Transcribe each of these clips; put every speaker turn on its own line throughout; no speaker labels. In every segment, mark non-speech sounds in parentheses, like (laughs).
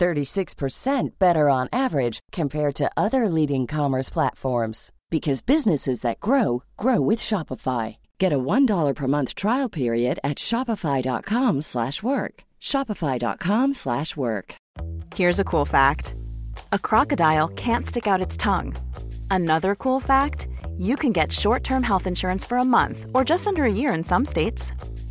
36% better on average compared to other leading commerce platforms because businesses that grow grow with Shopify. Get a $1 per month trial period at shopify.com/work. slash work. shopify.com/work. slash work.
Here's a cool fact a crocodile can't stick out its tongue. Another cool fact you can get short term health insurance for a month or just under a year in some states.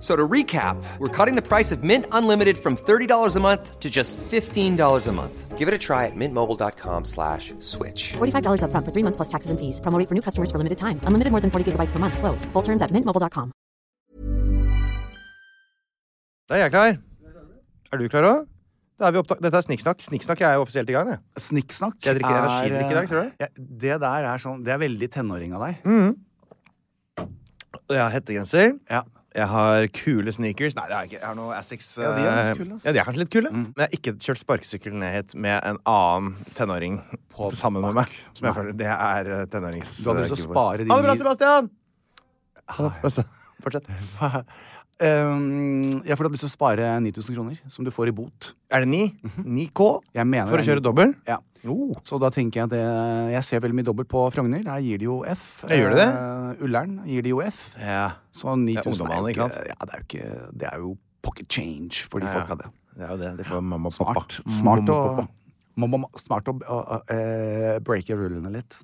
So to recap, we're cutting the price of Mint Unlimited from $30 a month to just $15 a month. Give it a try at mintmobile.com slash switch.
$45 upfront for three months plus taxes and fees. Promo rate for new customers for limited time. Unlimited more than 40 gigabytes per month. Slows. Full terms at mintmobile.com.
Da er jeg klar. Er du klar òg? Da er vi opptak. Dette er Snikksnakk. Snikksnakk er jo offisielt i gang. Jeg.
Snikksnakk eh,
Skal jeg drikke energidrikk i dag, tror du? Mm.
Ja, det der er sånn Det er veldig tenåring av deg. (laughs)
Og Jeg har hettegenser.
Ja.
Jeg har kule sneakers. Nei, det har jeg ikke. Jeg har noe Asics.
Ja, de er ganske kule, ass.
ja, de er kanskje litt kule. Men jeg har ikke kjørt sparkesykkel ned hit med en annen tenåring på sammen med meg. Som jeg føler, Det er eh, tenårings...
Du hadde lyst til å
eh,
spare de
Ha det bra,
ni-
Sebastian! Ha det. Altså, Fortsett.
Um, jeg får da lyst til å spare 9000 kroner, som du får i bot.
Er det ni? 9K?
Jeg mener
For å
det er
kjøre dobbel?
Ja.
Mhm. Oh.
Så da tenker jeg at det, jeg ser veldig mye dobbelt på Frogner. Der gir de jo F.
Ja, gjør de det?
Eh, Ullern gir de jo F.
Ja.
Så
er
9000 er,
ungdommene,
jo
ikke
ikke,
sant?
ja, det er jo ikke Det er jo pocket change for
Ja,
de
ja.
folka, det.
Det er jo det. Det får mamma og pappa.
Smart, smart
Mamma
å,
og pappa.
må- må- smart å å- å, eh, breake rullene litt.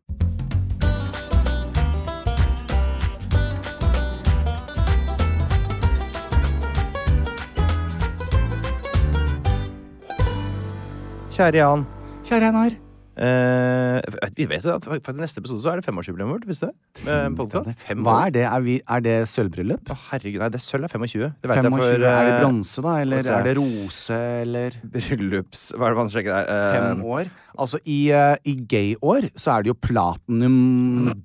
Kjære Jan.
Kjære Einar.
Eh, vi vet jo at for for neste episode så er det femårsjubileum vårt. Visste du? det? Med podcast. Fem
Hva
år.
er det? Er, vi, er det sølvbryllup?
Å, herregud, nei, det er sølv er 25. Det vet
25,
jeg for
er det
eh,
bronse, da? Eller
altså-
er det rose, eller
Bryllups... Hva er det man sjekker der? Eh,
Fem år? Altså, i, eh, i gay-år så er det jo platinum,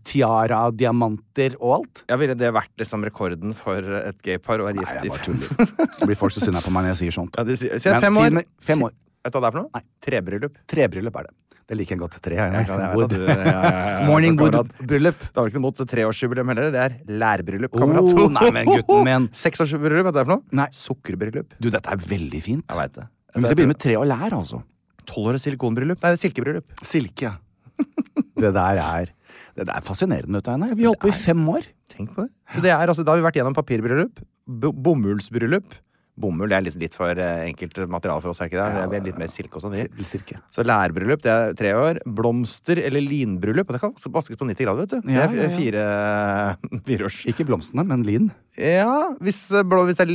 tiara, diamanter og alt.
Ja, Ville det vært liksom rekorden for et gaypar å være gift i
jeg bare
fem
tuller. (laughs) Det blir folk så sinna på meg når jeg sier sånt.
ja, de sier, sier
Men
fem år.
siden- fem år.
(laughs) Vet du hva det er for noe?
Nei.
Trebryllup.
Trebryllup er det. Det liker jeg godt. Tre,
Jeg er
jeg.
glad jeg vet at
Wood.
du- ja, ja, ja.
Morning
Kamerat.
wood-bryllup.
Det har vel ikke noe mot treårsjubileum heller. Det er lærbryllup.
Oh,
Kamerat.
nei, men gutten min.
(laughs) Seksårsjubileum, vet du hva det er for noe?
Nei.
Sukkerbryllup.
Du, dette er veldig fint.
Jeg veit det.
Men hvis jeg begynner med tre og lær, altså.
tolv år silikonbryllup Nei, det er silkebryllup.
Silke. (laughs) Det der er, det der er fascinerende, vet du, Einar. Vi har holdt på i fem år.
Tenk på det. Så det er, altså, da har vi vært gjennom papirbryllup, bo- bomullsbryllup Bomull det er litt, litt for eh, enkelt materiale for oss, er ikke det? det er litt mer silke og sånn.
Sil- Silke.
Så lærbryllup, det er tre år. Blomster eller linbryllup. og Det kan også vaskes på 90 grader, vet du.
Ja,
det
ja,
er
ja.
fi- fire (laughs) fireårs.
Ikke blomstene, men lin.
Ja, hvis, eh, blå, hvis det er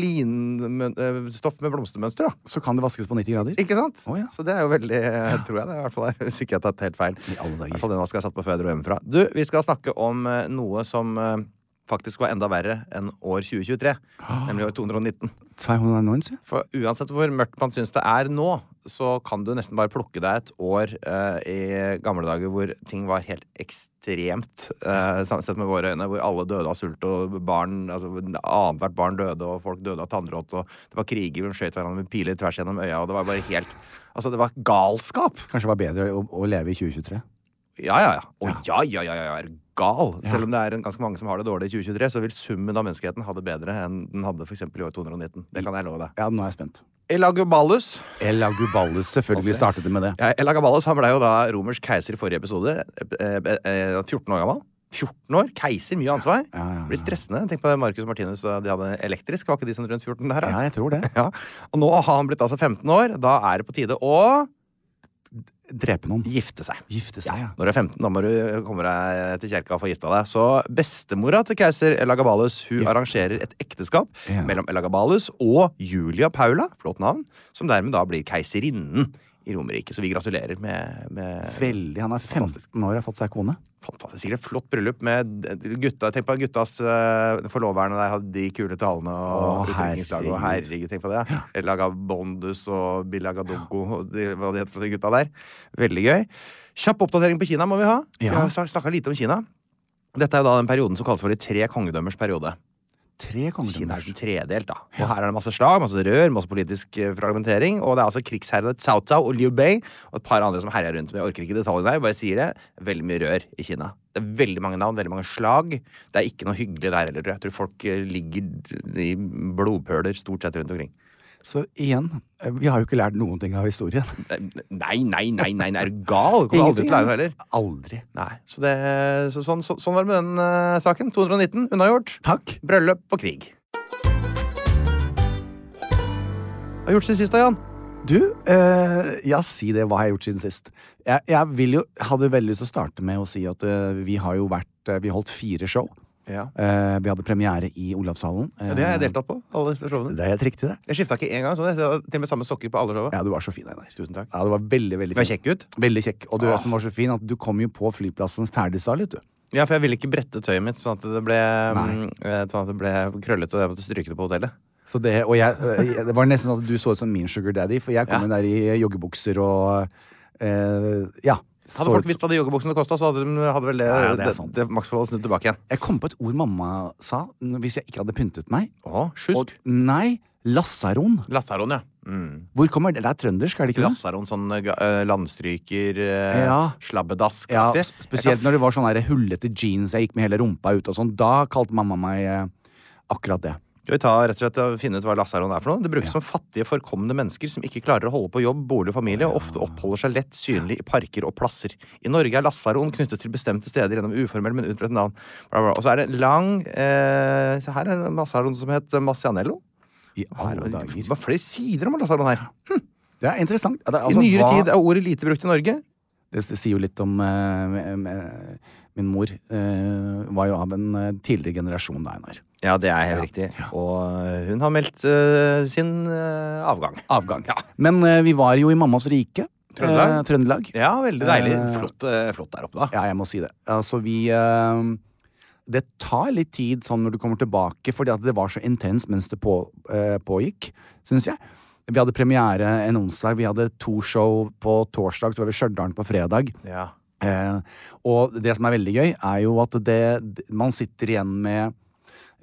linstoff med blomstermønster, da.
Så kan det vaskes på 90 grader.
Ikke sant?
Å, ja.
Så det er jo veldig eh, Tror jeg det, i hvert fall. er, Hvis ikke jeg har tatt helt feil.
I alle dager.
I hvert fall den vasken jeg satt på før jeg dro hjemmefra. Du, vi skal snakke om eh, noe som eh, faktisk var enda verre enn år 2023.
Ah.
Nemlig år 219.
290?
For uansett hvor mørkt man syns det er nå, så kan du nesten bare plukke deg et år eh, i gamle dager hvor ting var helt ekstremt, eh, sam- sett med våre øyne, hvor alle døde av sult, og barn, altså annethvert barn døde, og folk døde av tannrått, og det var kriger, hvor de skjøt hverandre med piler tvers gjennom øya, og det var bare helt Altså, det var galskap!
Kanskje det var bedre å, å leve i 2023.
Ja, ja, ja. Å, ja, ja, ja, ja, ja, er du gal? Selv om det er en, ganske mange som har det dårlig i 2023, så vil summen av menneskeheten ha det bedre enn den hadde f.eks. i år 219. Det kan jeg love deg.
Ja, nå er jeg spent.
Elagubalus
Ella Gubalus selvfølgelig startet det med det.
Ja, Elagabalus han ble jo da romersk keiser i forrige episode. eh, eh, eh, 14 år gammel. 14 år, keiser, mye ansvar.
ja, ja.
Blir stressende. Tenk på Marcus Martinus da de hadde elektrisk. Var ikke de sånn rundt 14 der? da?
Ja, jeg tror det.
Ja. Og nå har han blitt altså 15 år. Da er det på tide å
Drepe noen.
gifte seg.
Gifte seg, ja.
Når du er 15, da må du komme deg til kjerka og få gifta deg. Så bestemora til keiser Elagabalus hun arrangerer et ekteskap
Ja.
mellom Elagabalus og Julia Paula, flott navn, som dermed da blir keiserinnen i Romerike. Så vi gratulerer med, med
Veldig. Han er 15 år og har fått seg kone.
fantastisk sikkert flott bryllup med gutta. Tenk på guttas uh, forloverne der hadde de kule talene og
Å,
utdrikningslaget. Og
herregud.
herregud, tenk på det. Ja. Lagabondus og Bilagadogo og de, hva de heter for de gutta der. Veldig gøy. Kjapp oppdatering på Kina må vi ha. Vi
Ja.
har snakka lite om Kina. Dette er jo da den perioden som kalles for de tre kongedømmers periode.
Tre
Kina er
kongedømmer.
sånn tredelt, da. Og her er det masse slag, masse rør, masse politisk eh, fragmentering. Og det er altså krigsherrene Cao Cao og Liu Bei og et par andre som herjer rundt. Men jeg orker ikke detaljene der, jeg bare sier det. Veldig mye rør i Kina. Det er veldig mange navn, veldig mange slag. Det er ikke noe hyggelig der heller. tror Jeg Jeg tror folk eh, ligger i blodpøler stort sett rundt omkring.
Så igjen, eh, vi har jo ikke lært noen ting av historien.
Nei, nei, nei, nei, nei, er du gal? Kommer aldri til å lære noe heller.
(laughs) Aldri.
Nei, så det, så sånn, så, sånn var det med den eh, saken. 219 unnagjort.
Takk.
Bryllup og krig. Hva har du gjort siden sist da, Jan?
Du, eh, ja, si det. Hva har jeg gjort siden sist? Jeg, jeg vil jo, hadde veldig lyst til å starte med å si at eh, vi har jo vært eh, Vi holdt fire show.
Ja.
Eh, vi hadde premiere i Olavshallen. Eh,
det har jeg deltatt på. alle disse showene.
Det er helt riktig, det.
Jeg skifta ikke én gang. sånn. Jeg hadde til og med samme sokker på alle showene.
Ja, du var så fin, Einar.
Tusen takk.
Ja, du var veldig, veldig
Du er
fin. Ah.
kjekk ut.
Veldig kjekk. Og du også var så fin at du kom jo på flyplassen ferdigstalet, vet du.
Ja, for jeg ville ikke brette tøyet mitt sånn at det ble, mm, eh, sånn at det ble krøllete, og jeg måtte stryke det på hotellet.
Så det, og jeg, eh, det var nesten sånn at du så ut som min sugar daddy, for jeg kom inn der i eh, joggebukser og eh, Ja.
Hadde folk visst hva de joggebuksene kosta, så hadde, de, hadde vel det,
Ja, ja, det
det,
er
det,
sant.
maksforholdet snudd tilbake igjen.
Jeg kom på et ord mamma sa n- hvis jeg ikke hadde pyntet meg.
Å, sjusk.
Og, nei, lasaron.
Lasaron, ja. Mm.
Hvor kommer det? Det er trøndersk, er det ikke det?
Lasaron, sånn eh, ga- eh, landstryker, eh,
Ja.
slabbedask
Ja, s- spesielt når det var sånne her hullete jeans jeg gikk med hele rumpa ut og sånn. Da kalte mamma meg eh, akkurat det.
Skal vi ta rett og slett og finne ut hva lasaron er for noe? Det brukes som fattige, forkomne mennesker som ikke klarer å holde på jobb, bolig og familie, og ofte oppholder seg lett synlig i parker og plasser. I Norge er lasaron knyttet til bestemte steder gjennom uformell, men utbredt navn. Bla, bla, bla. Og så er det en lang eh, Se her er en lasaron som het Massianello.
I alle dager.
Det var flere sider om lasaron her.
Det er interessant. Ja, det er
I
altså,
nyere
hva-
tid er ordet lite brukt i Norge.
Det s- sier jo litt om eh, m- m- Min mor eh, var jo av en eh, tidligere generasjon, da, Einar.
Ja, det er helt riktig. Og hun har meldt eh, sin eh, avgang.
Avgang. Men eh, vi var jo i mammas rike.
Trøndelag?
Eh, Trøndelag.
Ja, veldig deilig.
Eh,
Flott, eh, flott der oppe, da.
Ja, jeg må si det. Altså, vi eh, Det tar litt tid sånn når du kommer tilbake, fordi at det var så intenst mens det på, eh, pågikk, syns jeg. Vi hadde premiere en onsdag, vi hadde to show på torsdag, så var vi i Stjørdal på fredag.
Ja.
Eh, og det som er veldig gøy, er jo at det, d- man sitter igjen med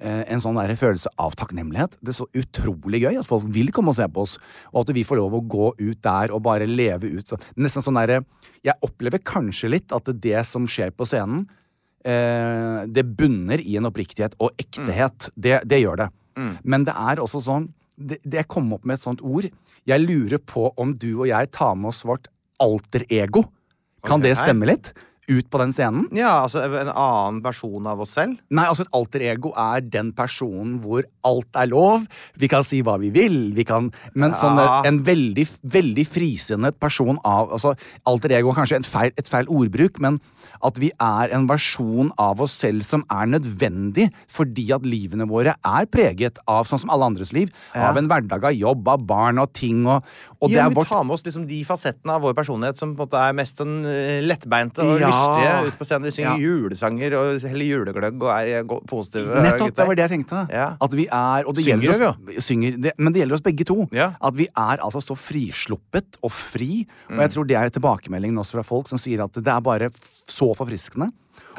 eh, en sånn der følelse av takknemlighet. Det er så utrolig gøy at folk vil komme og se på oss, og at vi får lov å gå ut der og bare leve ut. Så, nesten sånn derre Jeg opplever kanskje litt at det som skjer på scenen, eh, det bunner i en oppriktighet og ektehet. Det, det gjør det. Men det er også sånn det, det Jeg kom opp med et sånt ord. Jeg lurer på om du og jeg tar med oss vårt alter ego. Kan
Ok.
det stemme litt? Ut på den scenen?
ja, altså en annen versjon av oss selv.
Nei, altså et alter ego er den personen hvor alt er lov. Vi kan si hva vi vil, vi kan Men sånn
Ja.
en veldig, veldig frisinnet person av altså, Alter ego er kanskje en feil, et feil ordbruk, men at vi er en versjon av oss selv som er nødvendig fordi at livene våre er preget av, sånn som alle andres liv, av en hverdag av jobb, av barn og ting og, og det
ja,
er
men Vi
vårt
tar med oss liksom de fasettene av vår personlighet som på en måte er mest sånn eh, lettbeinte og
Ja.
lystige ute på scenen. De synger
Ja.
julesanger og heller julegløgg og er eh, go- positive.
Nettopp, det
gutter.
var det jeg tenkte.
Ja.
At vi er, og det
Synger
gjelder
jo,
oss, synger, det, men det gjelder oss begge to.
Ja.
At vi er altså så frisluppet og fri. Og
Mm.
jeg tror det er tilbakemeldingen også fra folk som sier at det er bare f- så forfriskende.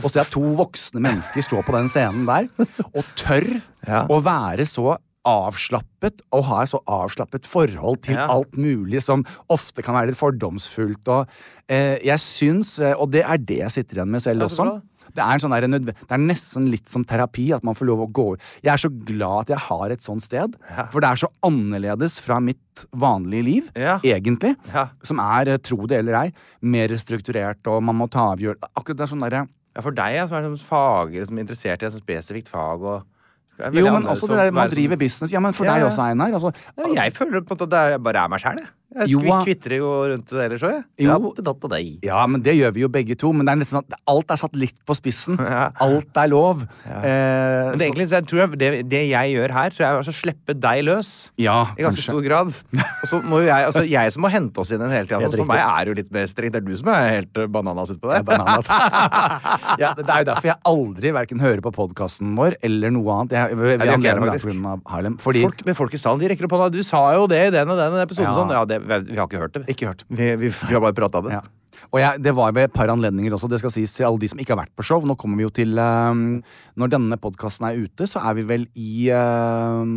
Og så er to voksne mennesker står på den scenen der og tør
(laughs) Ja.
å være så avslappet og ha et så avslappet forhold til
Ja.
alt mulig som ofte kan være litt fordomsfullt. Og eh, jeg syns, eh, og det er det jeg sitter igjen med selv
Ja, så
også,
bra.
det er, en sånn der, nødve- det er nesten sånn litt som terapi at man får lov å gå ut. Jeg er så glad at jeg har et sånt sted, for det er så annerledes fra mitt vanlige liv,
Ja.
egentlig,
Ja.
som er, eh, tro det eller ei, mer strukturert, og man må ta avgjørelser Akkurat det er sånn derre
Ja, for deg ja, som er sånn fag, som er interessert i et sånt spesifikt fag og Det er veldig
Jo, men
annerledes
også
å
det der man
være som-
driver business. Ja, men for
Ja,
deg
ja.
også, Einar. Altså,
Ja, jeg føler på en måte at det er- jeg bare er meg sjæl, jeg. Jeg
Jo,
skvi-
ja.
kvitrer jo rundt det ellers òg, jeg.
Jo.
Datt, datt, datt, datt.
Ja, men det gjør vi jo begge to. Men det er nesten sånn at alt er satt litt på spissen. Alt er lov. Eh,
Men det, er egentlig, så jeg tror jeg, det, det jeg gjør her, tror jeg er altså å slippe deg løs.
Ja,
I ganske
kanskje.
stor grad. Og så må jo jeg altså jeg som må hente oss inn en hele tida.
Helt
så For
riktig.
meg er det jo litt mer strengt. Det er du som er helt eh, bananas utpå
så-
der. (laughs)
Bananas. ja, det det er jo derfor jeg aldri hverken hører på podkasten vår eller noe annet. Jeg, vi,
det gjør jeg
anledning da
faktisk.
på grunn av Harlem. Fordi
Folk, men folk i salen de rekker opp hånda. Du sa jo det i den og den episoden.
Ja.
Sånn. Ja, det, vi har ikke hørt det. vi.
Ikke hørt.
Vi, vi, vi har bare prata om det.
Ja. Og jeg, det var ved et par anledninger også, det skal sies til alle de som ikke har vært på show. Nå kommer vi jo til ehm, Når denne podkasten er ute, så er vi vel i ehm,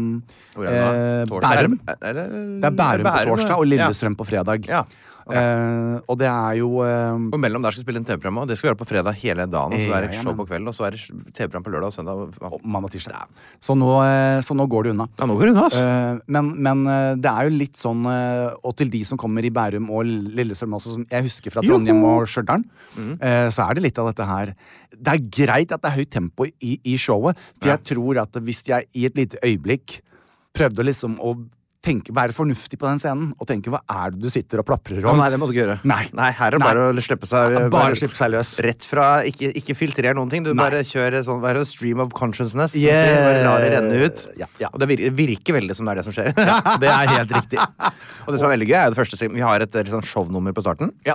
Hvor er det nå?
eh,
Torsdag,
Bærum.
er det- er det-
Det er Bærum på torsdag
ja.
og Lillestrøm på fredag.
Ja.
Eh, og det er jo ehm,
Og mellom der skal vi spille en TV-program. og Det skal være på fredag hele dagen. Og så
Ja,
er det
ja,
show
men-
på kvelden, og så er det TV-program på lørdag og søndag. og-
mandag og tirsdag. Så nå, eh, så nå går det unna.
Ja, nå går det unna, ass.
Eh, men, men eh, det er jo litt sånn eh, Og til de som kommer i Bærum og Lillestrøm også, som jeg husker fra Trondheim og Stjørdal,
Mm.
eh, så er det litt av dette her Det er greit at det er høyt tempo i, i showet, for jeg tror at hvis jeg i et lite øyeblikk prøvde liksom å tenke, være fornuftig på den scenen og tenke hva er det du sitter og plaprer
Å,
om?
nei, det må du ikke gjøre.
Nei.
her er det
Nei.
bare å slippe seg
Bare
bare-
slippe seg løs.
Rett fra Ikke, ikke filtrer noen ting. Du
Nei.
bare kjører sånn Hva er det? Stream of consciousness. som
Yeah.
sier, Bare lar det renne ut.
Ja, ja.
Og det virker, virker veldig som det er det som skjer.
det er helt riktig.
(laughs) og det som er veldig gøy, er det første Vi har et eh, litt sånn shownummer på starten.
Ja.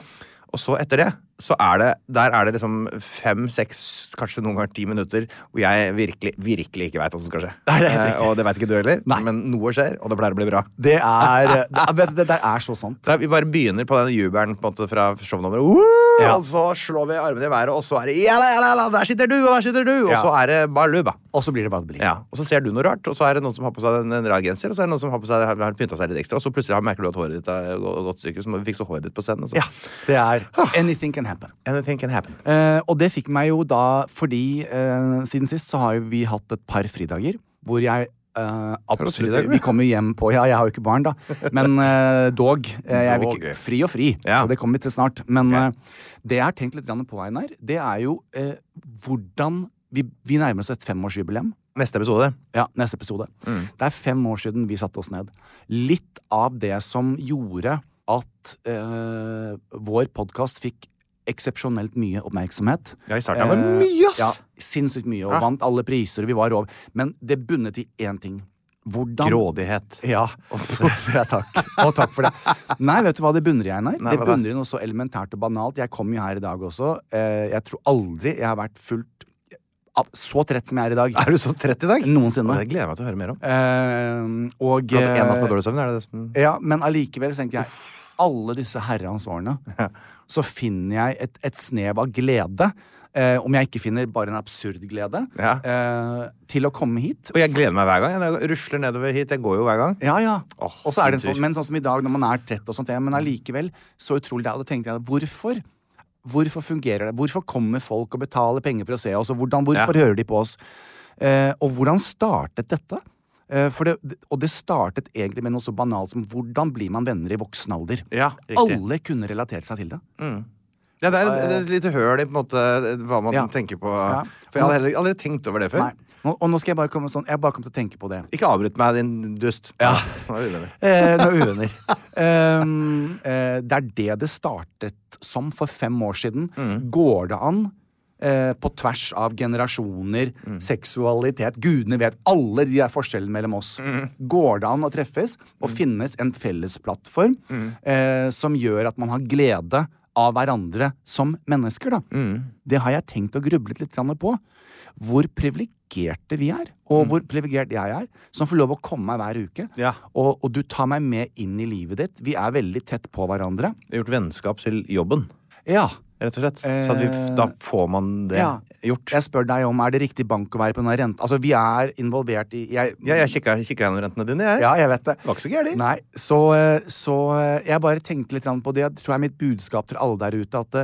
Og så etter det, så er det Der er det liksom fem, seks, kanskje noen ganger ti minutter hvor jeg virkelig, virkelig ikke veit hva som skal skje.
Nei, det er helt
Eh,
riktig.
og det veit ikke du heller,
Nei.
men noe skjer, og det pleier å bli bra.
Det er, det, er- vet du, det der er så sant.
Så vi bare begynner på den jubelen på en måte, fra shownummeret. Woo!
Ja.
Og så slår vi armene i været, og så er det «Jalla, jalla, jalla, Der sitter du, og der sitter du! Og
Ja.
så er det baluba.
Og så blir det hva det blir.
Ja. Og så ser du noe rart, og så er det noen som har på seg en, en rar genser, og så er det noen som har på seg, har, har pynta seg litt ekstra, og så plutselig har- merker du at håret ditt er gå- gått stykker, så må vi fikse håret ditt på scenen. Og så.
Ja, det er Anything can happen.
Anything can happen.
Eh, og det fikk meg jo da fordi eh, siden sist så har jo vi hatt et par fridager hvor jeg eh, absolutt
fridager, du?
Vi kommer jo hjem på Ja, jeg har jo ikke barn, da,
(laughs)
men eh, dog. eh, jeg vil
Dog, ja.
ikke, fri og fri,
Ja.
og det kommer vi til snart. Men eh, det jeg har tenkt litt grann på, Einar, det er jo eh, hvordan vi, vi nærmer oss et femårsjubileum.
Neste episode.
Ja, neste episode.
Mm.
Det er fem år siden vi satte oss ned. Litt av det som gjorde at eh, vår podkast fikk eksepsjonelt mye oppmerksomhet. Eh,
Ja, i starten var det mye, ass! Ah.
Ja, sinnssykt mye, og
Ja.
vant alle priser, og vi var over. Men det bunnet i én ting. Hvordan
Grådighet. (laughs)
ja. ja, takk. Og takk for det. Nei, vet du hva det bunner i, Einar?
Nei,
Det
hva da?
bunner i noe så elementært og banalt. Jeg kom jo her i dag også. Eh, Jeg tror aldri jeg har vært fullt så trett som jeg er i dag.
Er du så trett i dag?
Noensinne.
Ja, Det gleder jeg meg til å høre mer om.
Eh, og
Blant en natt
eh,
med dårlig søvn, er det det som
ja, Men allikevel så tenkte jeg alle disse herrens
(laughs)
årene, så finner jeg et, et snev av glede. Eh, om jeg ikke finner bare en absurd glede.
Ja.
Eh, til å komme hit.
Og jeg gleder meg hver gang. Jeg rusler nedover hit. Jeg går jo hver gang.
Ja, ja.
Åh,
og så er det en
sinnssykt.
sånn, men sånn som i dag, når man er trett og sånt, ja, men allikevel så utrolig det. er. Og da tenkte jeg, hvorfor? Hvorfor fungerer det? Hvorfor kommer folk og betaler penger for å se oss? Og hvordan, hvorfor hører de på oss? Eh, og hvordan startet dette? Eh, for det, og det startet egentlig med noe så banalt som hvordan blir man venner i voksen alder?
Ja, riktig.
Alle kunne relatert seg til det.
Ja, det er et, et lite høl i på en måte, hva man
Ja.
tenker på.
Ja.
For jeg hadde heller aldri tenkt over det før.
Nei. Nå, og nå skal jeg bare komme sånn, jeg bare kom til å tenke på det.
Ikke avbryt meg, din dust. (laughs)
Ja.
Nå er vi uvenner.
Eh, nå er vi uvenner. Um, eh, det er det det startet som for fem år siden. Går det an, eh, på tvers av generasjoner, seksualitet Gudene vet alle de der forskjellene mellom oss. Går det an å treffes og finnes en felles plattform eh, som gjør at man har glede av hverandre som mennesker, da? Det har jeg tenkt og grublet litt grann på. Hvor privilegerte vi er, og hvor privilegert jeg er, som får lov å komme meg hver uke.
Ja.
Og, og du tar meg med inn i livet ditt. Vi er veldig tett på hverandre.
Vi har gjort vennskap til jobben,
Ja.
rett og slett. Så at vi, f- da får man det
ja.
gjort.
Jeg spør deg om er det riktig bank å være på denne renta. Altså, vi er involvert i jeg,
Ja, jeg kikka kikka gjennom rentene dine, jeg.
Ja, jeg vet det.
Var ikke så gærent.
Nei, så, eh, så eh, jeg bare tenkte litt grann på det. Jeg tror jeg er mitt budskap til alle der ute at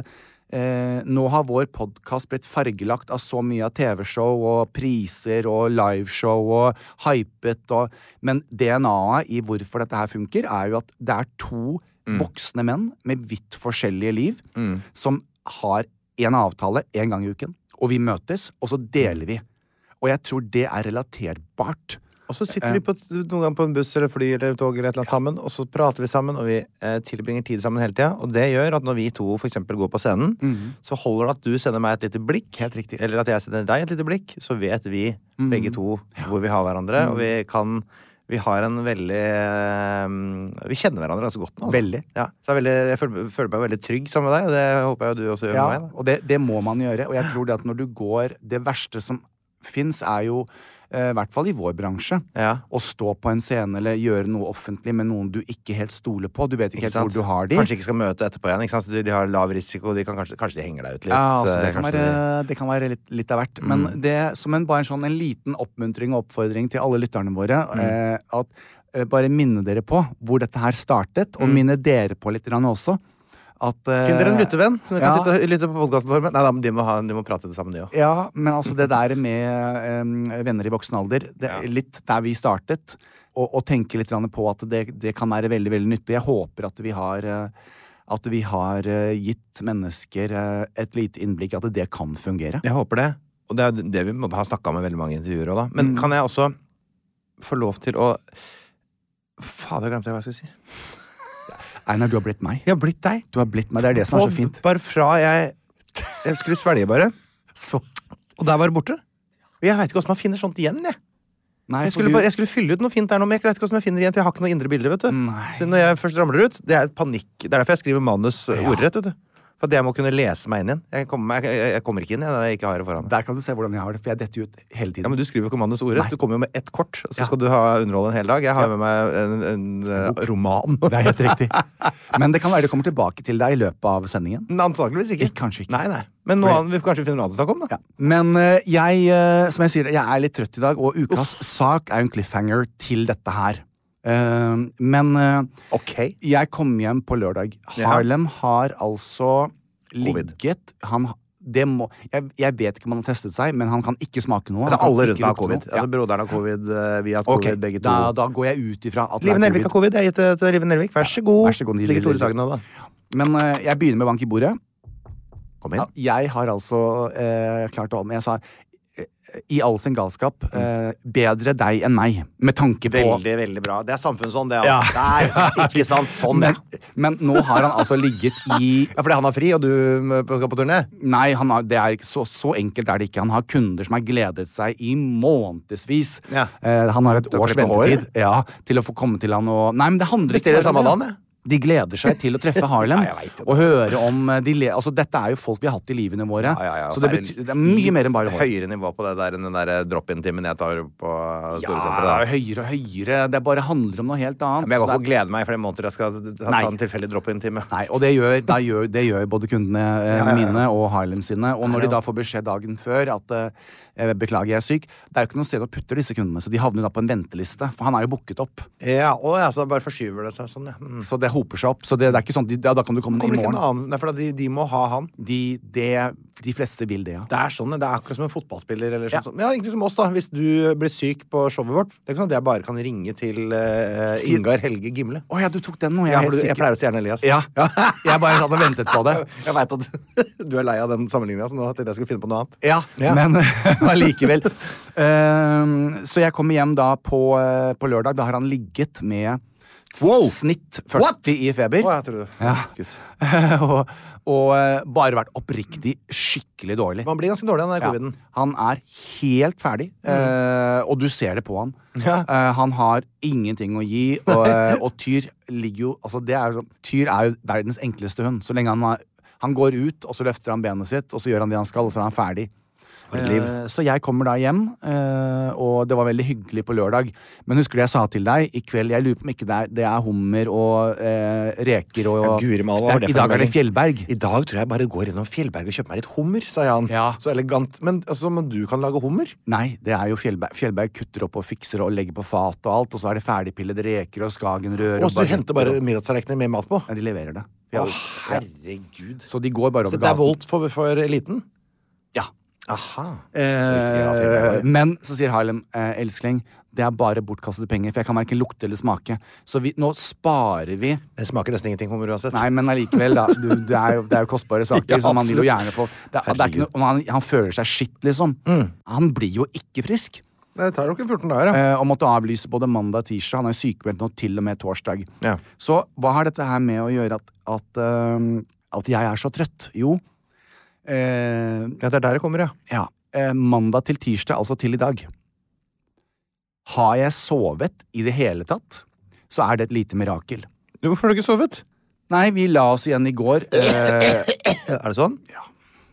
eh, nå har vår podkast blitt fargelagt av så mye av TV-show og priser og liveshow og hypet og Men DNA-et i hvorfor dette her funker, er jo at det er to
Mm.
voksne menn med vidt forskjellige liv som har en avtale én gang i uken. og vi møtes, og så deler vi. Og jeg tror det er relaterbart.
Og så sitter vi på, et- noen ganger på en buss eller fly eller tog eller et eller annet sammen, og så prater vi sammen, og vi eh, tilbringer tid sammen hele tida. Og det gjør at når vi to for eksempel går på scenen, så holder det at du sender meg et lite blikk,
Mhm. Helt riktig. Mhm.
eller at jeg sender deg et lite blikk, så vet vi begge to hvor vi har hverandre, og vi kan vi har en veldig eh, Vi kjenner hverandre ganske godt nå. altså.
Veldig.
Ja, så jeg, er veldig, jeg føler, føler meg veldig trygg sammen med deg, og det håper jeg jo du også gjør
Ja,
med meg. Da.
og det, det må man gjøre. Og jeg tror det at når du går Det verste som fins, er jo, eh, i hvert fall i vår bransje,
Ja.
å stå på en scene eller gjøre noe offentlig med noen du ikke helt stoler på. Du vet
Ikke
ikke, helt
sant?
hvor du har de.
Kanskje ikke skal møte etterpå igjen. Ikke sant? De, de har lav risiko, de kan kanskje, kanskje de henger deg ut litt.
Ja, altså,
eh,
det, kan
kanskje
være,
de- Mm.
det kan være litt, litt av hvert. Men det som en, bare en, sånn, en liten oppmuntring og oppfordring til alle lytterne våre
Mm.
eh, at eh, Bare minne dere på hvor dette her startet, og minne dere på litt grann også. At, eh,
Mm. Finn dere en lyttevenn som dere
ja,
kan sitte og lytte på podkasten for. Men nei, da, men de, må ha, de må prate sammen, de òg.
Ja, men altså det der med eh, venner i voksen alder det, er Litt der vi startet, og, og tenke litt grann på at det, det kan være veldig veldig nyttig. Jeg håper at vi har eh, at vi har eh, gitt mennesker eh, et lite innblikk i at det kan fungere.
Jeg håper det. Og det er jo det vi på en måte har snakka med veldig mange intervjuer òg, da. Men kan jeg også få lov til å Fader, glemte jeg hva jeg skulle si.
Einar, du har blitt meg.
Jeg har blitt deg.
Du har blitt meg. Det er det som er så fint.
Bare fra jeg Jeg skulle svelge, bare.
Så-
Og der var det borte. Og jeg veit ikke åssen man finner sånt igjen, jeg.
Nei,
Jeg
for
skulle,
du-
bare, jeg skulle fylle ut noe fint der nå, men jeg vet ikke hvordan jeg finner det igjen, for jeg har ikke noe indre bilder, vet du.
Nei.
Så når jeg først ramler ut, det er et panikk. Det er derfor jeg skriver manus eh, ordrett, vet du. For at jeg må kunne lese meg inn igjen. Jeg kommer, meg- jeg, jeg kommer ikke inn jeg, når jeg ikke har det foran meg.
Der kan du se hvordan jeg har det, for jeg detter jo ut hele tiden.
Ja, men du skriver jo ikke manus ordrett. Du kommer jo med ett kort, og så skal du ha underhold en hel dag. Jeg har med meg en, en, eh, roman. (laughs)
Det er helt riktig. (laughs) Men det kan være det kommer tilbake til deg i løpet av sendingen.
Men Antakeligvis ikke.
Ikke- Eh, kanskje ikke.
Nei, nei. Men noe annet, vi kanskje finner noe annet å snakke om, da.
Ja. Men eh, jeg, eh, som jeg sier, jeg er litt trøtt i dag, og ukas sak er jo en cliffhanger til dette her. Eh, men eh,
Ok.
jeg kom hjem på lørdag.
Ja.
Harlem har altså
Covid.
ligget han, det må, jeg, jeg vet ikke om han har testet seg, men han kan ikke smake noe.
Altså,
han kan
alle
ikke
rundt meg har
lukte
covid.
noe. Ja.
Altså, broderen har covid, eh, vi har hatt
Ok,
covid, begge to.
da, da går jeg ut ifra at det
Live
er
Nelvik har
covid.
covid. Jeg har gitt det til Live Nelvik. Vær så god.
Vær så god, Live
Sikkert Tore
Nelvik.
Sagen òg, da.
Men eh, jeg begynner med bank i bordet.
Kom inn.
Ja, jeg har altså eh, klart å Men jeg sa eh, i all sin galskap eh, bedre deg enn meg, med tanke på
Mm. Veldig, veldig bra. Det er samfunnsånd, det.
Ja.
Ja.
(laughs)
Der, ikke sant? Sånn, ja.
men, men nå har han altså ligget i
(laughs) Ja, fordi han har fri, og du m, skal på turné?
Nei, han har, det er ikke så, så enkelt er det ikke. Han har kunder som har gledet seg i månedsvis.
Ja.
Eh, han har et
har
års
klippet håret?
ventetid ja, til å få komme til han og Nei, men det handler
Bestiller
bare om
samme
det.
dagen, jeg.
De gleder seg til å treffe
(laughs)
Harlem
Ja, jeg vet det.
og høre om eh, de le, Altså, dette er jo folk vi har hatt i livene våre.
Ja, ja, ja.
Så det,
er
betyr, det er mye
litt
mer enn bare hår.
Høyere nivå på det der enn den der drop-in-timen jeg tar på
Ja,
Storesenteret. da.
høyere og høyere. Det bare handler om noe helt annet.
Men jeg
Så
går ikke
det
og gleder meg i flere måneder jeg skal ta, ta
Nei.
en tilfeldig drop-in-time.
er- Nei, og det gjør, da gjør, det gjør både kundene eh, mine og Highland sine. Og når de da får beskjed dagen før at eh, 'beklager, jeg er syk', det er jo ikke noe sted å putte disse kundene, så de havner jo da på en venteliste, for han er jo booket opp.
Ja, å, ja, så da bare forskyver det seg sånn, ja. Mm.
Så det hoper seg opp. Så det, det er ikke sånn, de, ja, da kan du komme i
Kommer det ikke en
morgen.
annen? Nei, for da, de, de må ha han.
De, det, de fleste vil det, ja.
Det er sånn, det er akkurat som en fotballspiller. Eller
Ja.
sånn, som- ja, egentlig som oss, da. Hvis du blir syk på showet vårt, det er ikke sånn at jeg bare kan ringe til eh,
Si-
Ingar Helge Gimle.
Å ja, du tok den nå. Jeg
Ja,
er
for du,
helt
jeg
sikker.
pleier å si gjerne Elias.
Ja.
(laughs)
Jeg bare satt og ventet på det.
Jeg veit at du er lei av den sammenligninga, så nå tenkte jeg skulle finne på noe annet.
Ja,
Ja.
men eh, (laughs) allikevel. Ehm, så jeg kommer hjem da på, eh, på lørdag. Da har han ligget med snitt 40
What?
i feber.
Å, jeg tror det. Gutt.
(laughs) og og eh, bare vært oppriktig skikkelig dårlig.
Man blir ganske dårlig av den der
Ja,
coviden.
han er helt ferdig, eh, og du ser det på han.
Ja.
Eh, han har ingenting å gi, og, eh, og Tyr ligger jo altså det er, jo sånn- Tyr er jo verdens enkleste hund. Så lenge han, har, han går ut, og så løfter han benet sitt, og så gjør han det han skal, og så er han ferdig. Eh, Så jeg kommer da hjem, eh, og det var veldig hyggelig på lørdag. Men husker du jeg sa til deg i kveld Jeg lurer på om ikke det er, det er hummer og eh, reker og
Ja, Guri malla, hva var det for
I
en
dag er det
melding?
fjellberg.
I dag tror jeg bare går innom Fjellberg og kjøper meg litt hummer, sa Jan.
Ja.
Så elegant. Men altså, men du kan lage hummer?
Nei, det er jo Fjellberg. Fjellberg kutter opp og fikser og legger på fat og alt, og så er det ferdigpillede reker og skagenrør
Og så du
baguetter
henter bare
og-
middagstallerkener med mat på?
Nei, de leverer det.
Å,
Ja.
herregud.
Så de går bare over
Dette er Volt for, for eliten?
Ja.
Aha.
Eh, men så sier Harlem, eh, elskling, Det er bare bortkastede penger, for jeg kan verken lukte eller smake. Så vi, nå sparer vi
Det smaker nesten ingenting hummer uansett.
Nei, men allikevel, da. Du, det, er jo, det er jo kostbare
(laughs)
saker
Ja,
som han vil jo
absolutt.
gjerne få. Det, er- det er ikke noe, og han, han føler seg skitt, liksom.
Mm.
Han blir jo ikke frisk.
Det tar jo ikke 14 dager, ja.
Eh, og måtte avlyse både mandag og tirsdag. Han er sykemeldt nå til og med torsdag.
Ja.
Så hva har dette her med å gjøre at, at, eh, at jeg er så trøtt? Jo, eh,
ja. Det er der det kommer, ja.
ja, eh, mandag til tirsdag, altså til i dag. Har jeg sovet i det hele tatt, så er det et lite mirakel.
Hvorfor har du ikke sovet?
Nei, vi la oss igjen i går. Eh,
Er det sånn? Ja.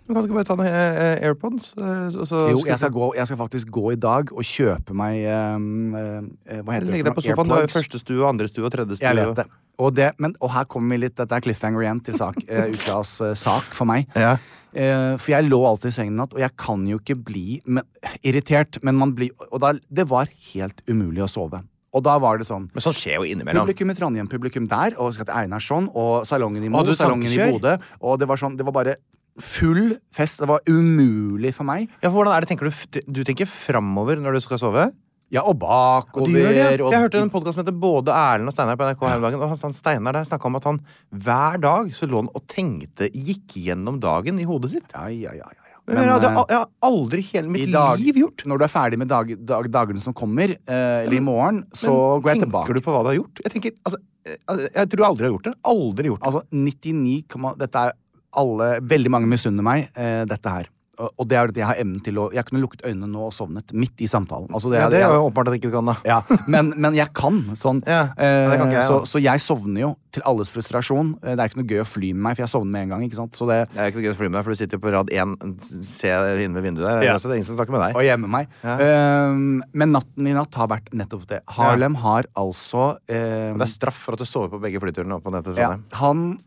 Du kan ikke bare ta noen eh, eh, AirPods? eh, så- så-
jo, jeg skal, gå, jeg skal faktisk gå i dag og kjøpe meg eh, eh, Hva heter det?
Legg deg
for
på sofaen. Du
noe?
har jo
Airplugs.
første stue, andre stue og tredje stue.
Jeg vet det. Og, det men, og her kommer vi litt Dette er cliffhanger igjen til sak, eh, ukas eh, sak for meg.
Ja.
Eh, for jeg lå alltid i sengen i natt, og jeg kan jo ikke bli men, irritert. Men man blir Og da, det var helt umulig å sove. Og da var det sånn.
Men sånn skjer jo innimellom.
Publikum i Trondheim, publikum der, og skal til Einarsson, og salongen i Mo,
Hadde du
salongen i
tankekjør?
Bodø. Og det var sånn, det var bare full fest. Det var umulig for meg.
Ja, for hvordan er det, tenker du, f- du tenker framover når du skal sove?
Ja, og bakover.
Du gjør det, ja.
og-
Jeg hørte en podkast som heter Både Erlend og Steinar på NRK her om dagen. Og han- han Steinar der snakka om at han hver dag så lå han og tenkte, gikk gjennom dagen i hodet sitt.
Ja, ja, ja, ja, ja.
Men, jeg, hadde,
eh,
al- jeg har aldri i hele
I
mitt
dag,
liv gjort.
Når du er ferdig med dag, dag, dagene som kommer, eh, eller i morgen, så går jeg
Tenker
tilbake.
du på hva du har gjort? Jeg, tenker, altså, eh, altså, jeg tror aldri jeg har gjort det. Aldri gjort det.
Altså 99, komma- dette er alle, veldig mange misunner meg eh, dette her. Og, og det er det jeg har evnen til å Jeg kunne lukket øynene nå og sovnet midt i samtalen. Altså, det,
Ja,
er-
det er
jeg-
jo åpenbart at jeg ikke kan, da.
ja, men, men jeg kan sånn.
Ja, ja, det kan ikke jeg,
så,
da.
så jeg sovner jo, til alles frustrasjon. Eh, Det er ikke noe gøy å fly med meg, for jeg sovner med en gang. ikke sant? Så det,
Det er ikke noe gøy å fly med deg, for du sitter jo på rad én, se inne ved vinduet der.
Ja.
Så det er ingen som snakker med deg.
og hjemme meg.
Ja.
Ehm, men natten i natt har vært nettopp det. Harlem har altså ehm,
Og Det er straff for at du sover på begge flyturene opp og ned til
ja,
Trondheim.
Han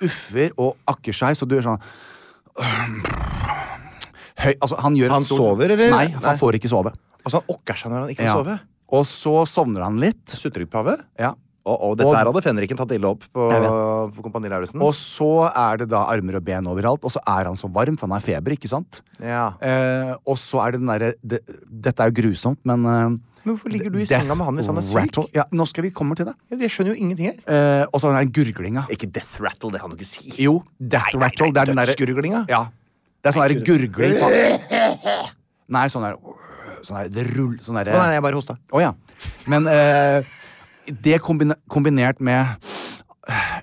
uffer og akker seg, så du gjør sånn Høy, altså, han gjør
Han
et stort-
sover, eller?
Nei,
Nei.
han får ikke sove.
Og så han okker seg når han ikke får
Ja.
sove.
Og så sovner han litt.
Sutrepiggpave.
Ja.
Og, og dette
Og-
her hadde fenriken tatt ille opp på,
Jeg vet.
på Kompani Lauritzen.
Og så er det da armer og ben overalt, og så er han så varm, for han har feber, ikke sant?
Ja.
Eh, og så er det den derre det, Dette er jo grusomt, men eh,
Men hvorfor ligger du i
death
senga med han hvis han er syk?
rattle- Ja, nå skal vi komme til det.
Ja, jeg skjønner jo ingenting her.
Eh, og så har han den gurglinga.
Ikke death rattle, det kan du ikke si.
Jo, death
Nei, nei,
rattle. Det er den
nei,
derre
dødsgurglinga.
Ja. Det er sånn derre gurgling faen. Nei, sånn der Sånn der, det rull, sånn
Å, nei,
derre Å
jeg bare hosta.
ja. Men eh, det kombine, kombinert med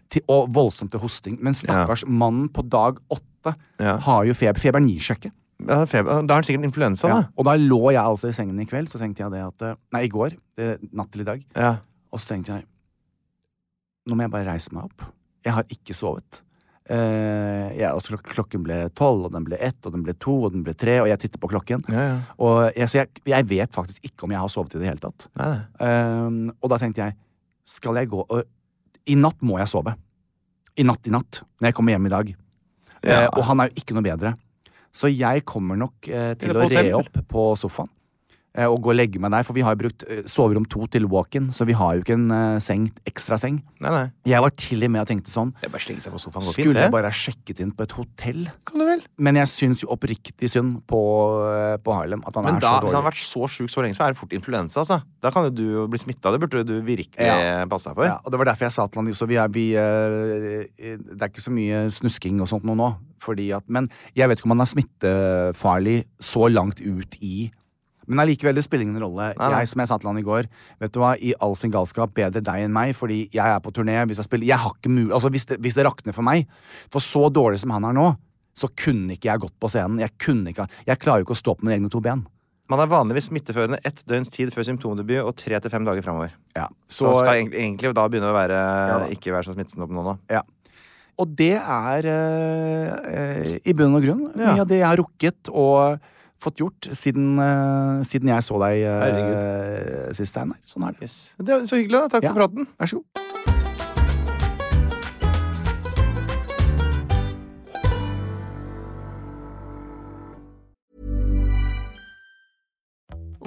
til, Og voldsomt til hosting. Men stakkars mannen på dag åtte
Ja.
har jo feber. Feberen gir seg ikke.
Ja, feber. Da har han sikkert influensa,
Ja. Og da lå jeg altså i sengen i kveld, så tenkte jeg det at eh, Nei, i går. Det, natt til i dag.
da. Ja.
Og så tenkte jeg Nå må jeg bare reise meg opp. Jeg har ikke sovet. Eh, jeg, altså, klok- klokken ble tolv, og den ble ett, og den ble to, og den ble tre, og jeg titter på klokken.
Ja, ja.
Og jeg, så jeg, jeg vet faktisk ikke om jeg har sovet i det hele tatt.
Nei, nei.
Eh, og da tenkte jeg Skal jeg gå og I natt må jeg sove. I natt, i natt. Når jeg kommer hjem i dag. Eh, og han er jo ikke noe bedre. Så jeg kommer nok eh, til
Eller
å
på
re
hotell.
opp på sofaen. eh, Og gå og legge meg der, for vi har jo brukt eh, soverom to til walk-in, så vi har jo ikke en eh, seng, ekstra seng.
nei, nei.
Jeg var til og med og tenkte sånn
Det er bare å slenge seg på sofaen. Går fint,
Skulle
det.
jeg bare ha sjekket inn på et hotell?
Kan du vel?
Men jeg syns jo oppriktig synd på, eh, på Harlem at han
Men
er
da,
så
hvis han har
dårlig.
vært så sjuk så lenge, så er det fort influensa. Altså. Da kan jo du bli smitta. Det burde du virkelig
Ja.
passe deg for.
Ja, og Det var derfor jeg sa til han Josef vi er, vi, eh, Det er ikke så mye snusking og sånt nå. nå fordi at, men jeg vet ikke om han er smittefarlig så langt ut i Men allikevel, det spiller ingen rolle.
Nei, nei.
Jeg som jeg sa til han i går, vet du hva, i all sin galskap, bedre deg enn meg, fordi jeg er på turné. Hvis jeg spiller, jeg har ikke mul altså, hvis, det, hvis det rakner for meg For så dårlig som han er nå, så kunne ikke jeg gått på scenen. Jeg kunne ikke, ha- jeg klarer jo ikke å stå på mine egne to ben.
Man er vanligvis smitteførende ett døgns tid før symptomdebut og tre til fem dager framover.
Ja,
Så man skal egentlig, egentlig da begynne å være,
da.
ikke være så smittsom nå, da.
Ja. Og det er eh, eh, i bunn og grunn
Ja.
mye av det jeg har rukket og fått gjort siden, eh, siden jeg så deg uh,
Herregud.
sist, Steinar. Sånn er det.
Det er så hyggelig. da. Takk
Ja.
for praten.
Vær så god.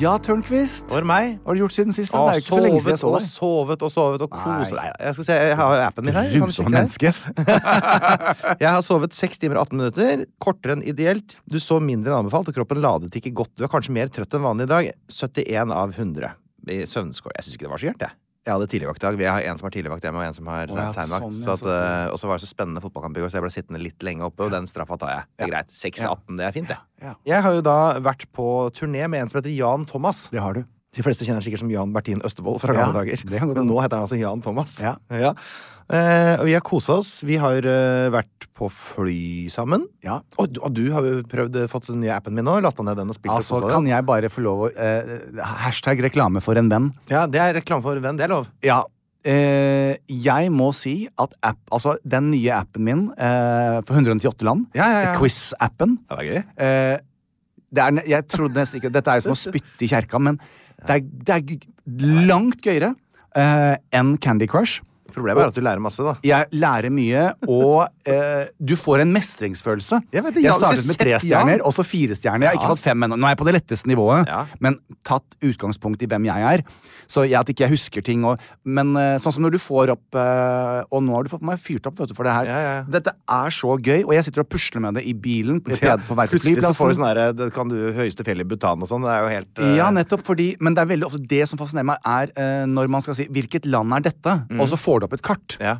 Ja, Tørnquist.
Var det meg?
Hva har du gjort siden sist? da?
Og
Det er jo ikke så lenge siden jeg så
sovet og
deg.
sovet og sovet og koset
Nei.
Nei, Jeg skal se, jeg har jo appen min her. Kan du
Grusomme
sjekke her?
menneske.
(laughs) jeg har sovet 6 timer og 18 minutter. Kortere enn ideelt. Du sov mindre enn anbefalt, og kroppen ladet ikke godt. Du er kanskje mer trøtt enn vanlig i dag. 71 av 100 i søvnskår. Jeg syns ikke det var så gærent, jeg. Jeg hadde tidligvakt i dag. Vi har en som har tidligvakt hjemme, og en som har
Å, ja,
seinvakt.
sånn, ja,
Så at,
sånn.
eh, og så var det så spennende fotballkamp i går, så jeg ble sittende litt lenge oppe, og den straffa tar jeg. Det er greit. 6-18, det er fint, det.
(laughs) Ja.
Jeg har jo da vært på turné med en som heter Jan Thomas.
Det har du.
De fleste kjenner sikkert som Jan Bertin Østebold fra
Ja,
gamle dager.
det kan godt
Men
hende.
nå heter han altså Jan Thomas.
Ja.
Eh, og vi har kosa oss. Vi har eh, vært på fly sammen.
Ja.
Og, du- og du har jo prøvd eh, fått den nye appen min nå. Lasta ned den og spilt
Altså,
og kosa
kan
deg.
jeg bare få lov å eh, Hashtag reklame for en venn.
Ja, det er reklame for venn. Det er lov.
Ja. Eh, jeg må si at app, altså, den nye appen min eh, for 198 land,
Ja, ja, ja.
quiz-appen
Ja, det er gøy.
eh, det er, ne- Jeg trodde nesten ikke Dette er jo som å spytte i kjerka, men det er, det er g- langt gøyere eh, enn Candy Crush.
Problemet er at du lærer masse, da.
Jeg lærer mye, og eh, du får en mestringsfølelse.
Jeg vet det, ja,
startet
hvis
med
jeg
tre
sett- ja.
stjerner, og så fire stjerner. Jeg har ikke fått fem ennå. Nå er jeg på det letteste nivået,
Ja.
men tatt utgangspunkt i hvem jeg er. Så jeg, at ikke jeg husker ting og Men eh, sånn som når du får opp eh, Og nå har du fått meg fyrt opp vet du, for det her.
Ja, ja, ja.
Dette er så gøy, og jeg sitter og pusler med det i bilen på, på vei til
Plutselig så får du
flyplassen.
sånn herre det Kan du høyeste fjell i Bhutan og sånn? Det er jo helt eh,
Ja, nettopp fordi Men det er veldig ofte det som fascinerer meg, er eh, når man skal si 'hvilket land er dette?' Og så får du opp et kart.
Mm. ja.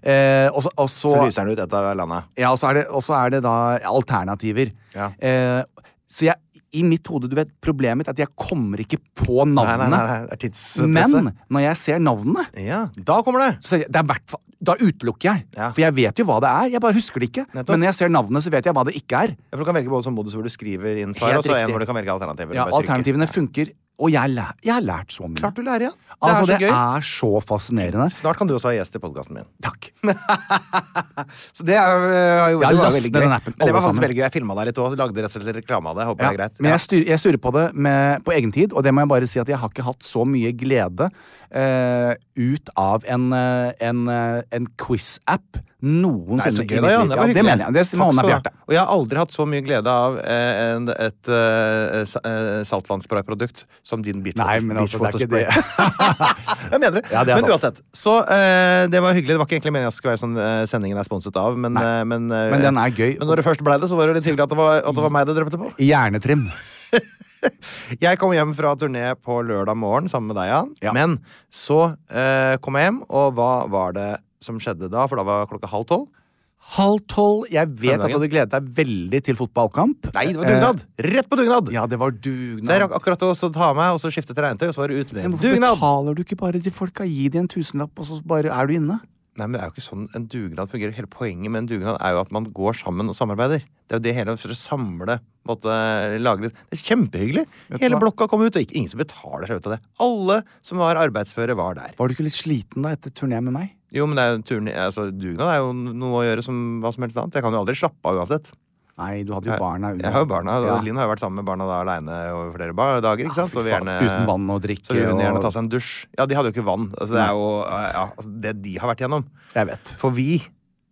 Eh, og så, og
Så lyser den ut dette er landet.
Ja, og så er det, og så er det da alternativer.
Ja.
Eh, så jeg, i mitt hode, du vet, problemet mitt er at jeg kommer ikke på navnene.
Nei, nei, nei, nei, det er tidspresset.
Men når jeg ser navnene,
Ja, da kommer det!
så tenker jeg, det er hvert fall- da utelukker jeg.
Ja.
For jeg vet jo hva det er, jeg bare husker det ikke.
Nettopp.
Men når jeg ser navnene, så vet jeg hva det ikke er.
Ja, for Du kan velge både sånn modus hvor du skriver inn svar,
Helt
og så en
riktig.
hvor du kan velge alternativer.
Ja,
Bare trykker.
alternativene funker, og jeg, lær, jeg har lært så mye.
Klart du lærer, ja. Det
altså,
er så
det
gøy.
er så fascinerende.
Snart kan du også være gjest i podkasten min.
Takk.
(laughs) Så det er, øh, har jo,
Ja,
det var
last
veldig
ned
gøy.
den
Men
appen,
det
alle
var faktisk
sammen.
veldig gøy. Jeg filma deg litt òg. Lagde rett og slett reklame av det. Håper
Ja,
det er greit.
Men
Ja.
jeg, styr, jeg surrer på det med, på egen tid, og det må jeg bare si at jeg har ikke hatt så mye glede eh, ut av en, eh, en, eh, en quiz-app
Nei, så
noensinne. i
gøy, da,
mitt liv.
Jan. Det var
ja,
hyggelig.
det mener jeg. Det
Takk
med
skal du
hånda på
ha.
hjertet.
Og jeg har aldri hatt så mye glede av eh, en, et eh, sa- eh, saltvannsprayprodukt som din Beach
Nei, men altså, det er ikke det. (laughs)
Jeg mener det.
Ja, det er
men
sant.
uansett. Så eh, det var hyggelig. Det var ikke egentlig meningen at det skulle være sånn eh, sendingen er sponset av, men eh, men, eh,
Men den er gøy.
Men når det først ble det, så var det litt hyggelig at det var, at det var meg du drømte på.
Hjernetrim.
Jeg kom hjem fra turné på lørdag morgen sammen med deg, Jan.
Ja.
Men så eh, kom jeg hjem, og hva var det som skjedde da? For da var klokka halv tolv.
Halv tolv. Jeg vet at
Søndagen.
du hadde gledet deg veldig til fotballkamp.
Nei, det var dugnad! Eh, Rett på dugnad!
Eh, ja, det var
Så jeg
dugnad.
rakk akkurat å så ta av meg, og så skiftet til regntøy, og så var det ut med
Men
en
hvorfor
dugnad!
betaler du ikke bare til folka? Gi de en tusenlapp, og så bare er du inne.
Nei, men det er jo ikke sånn en dugnad fungerer. Hele poenget med en dugnad er jo at man går sammen og samarbeider. Det er jo det hele for å samle måtte, lage litt. Det er kjempehyggelig!
Vet du
Hele
hva?
blokka kom ut, og ikke, ingen som betaler seg ut av det. Alle som var arbeidsføre, var der.
Var du ikke litt sliten da etter turné med meg?
Jo, men det er jo turen, altså, dugnad er jo noe å gjøre som hva som helst annet. Jeg kan jo aldri slappe av uansett.
Nei, du hadde jo
Jeg-
barna under.
Jeg har jo barna, og
Ja.
Linn har jo vært sammen med barna da aleine over flere ba- dager. ikke
Ja,
sant?
fy
Så vi
faen.
gjerne,
Uten vann og drikke
Så vil hun gjerne
og-
ta seg en dusj. Ja, de hadde jo ikke vann. Altså, det er jo ja, altså, det de har vært igjennom.
Jeg vet.
For vi,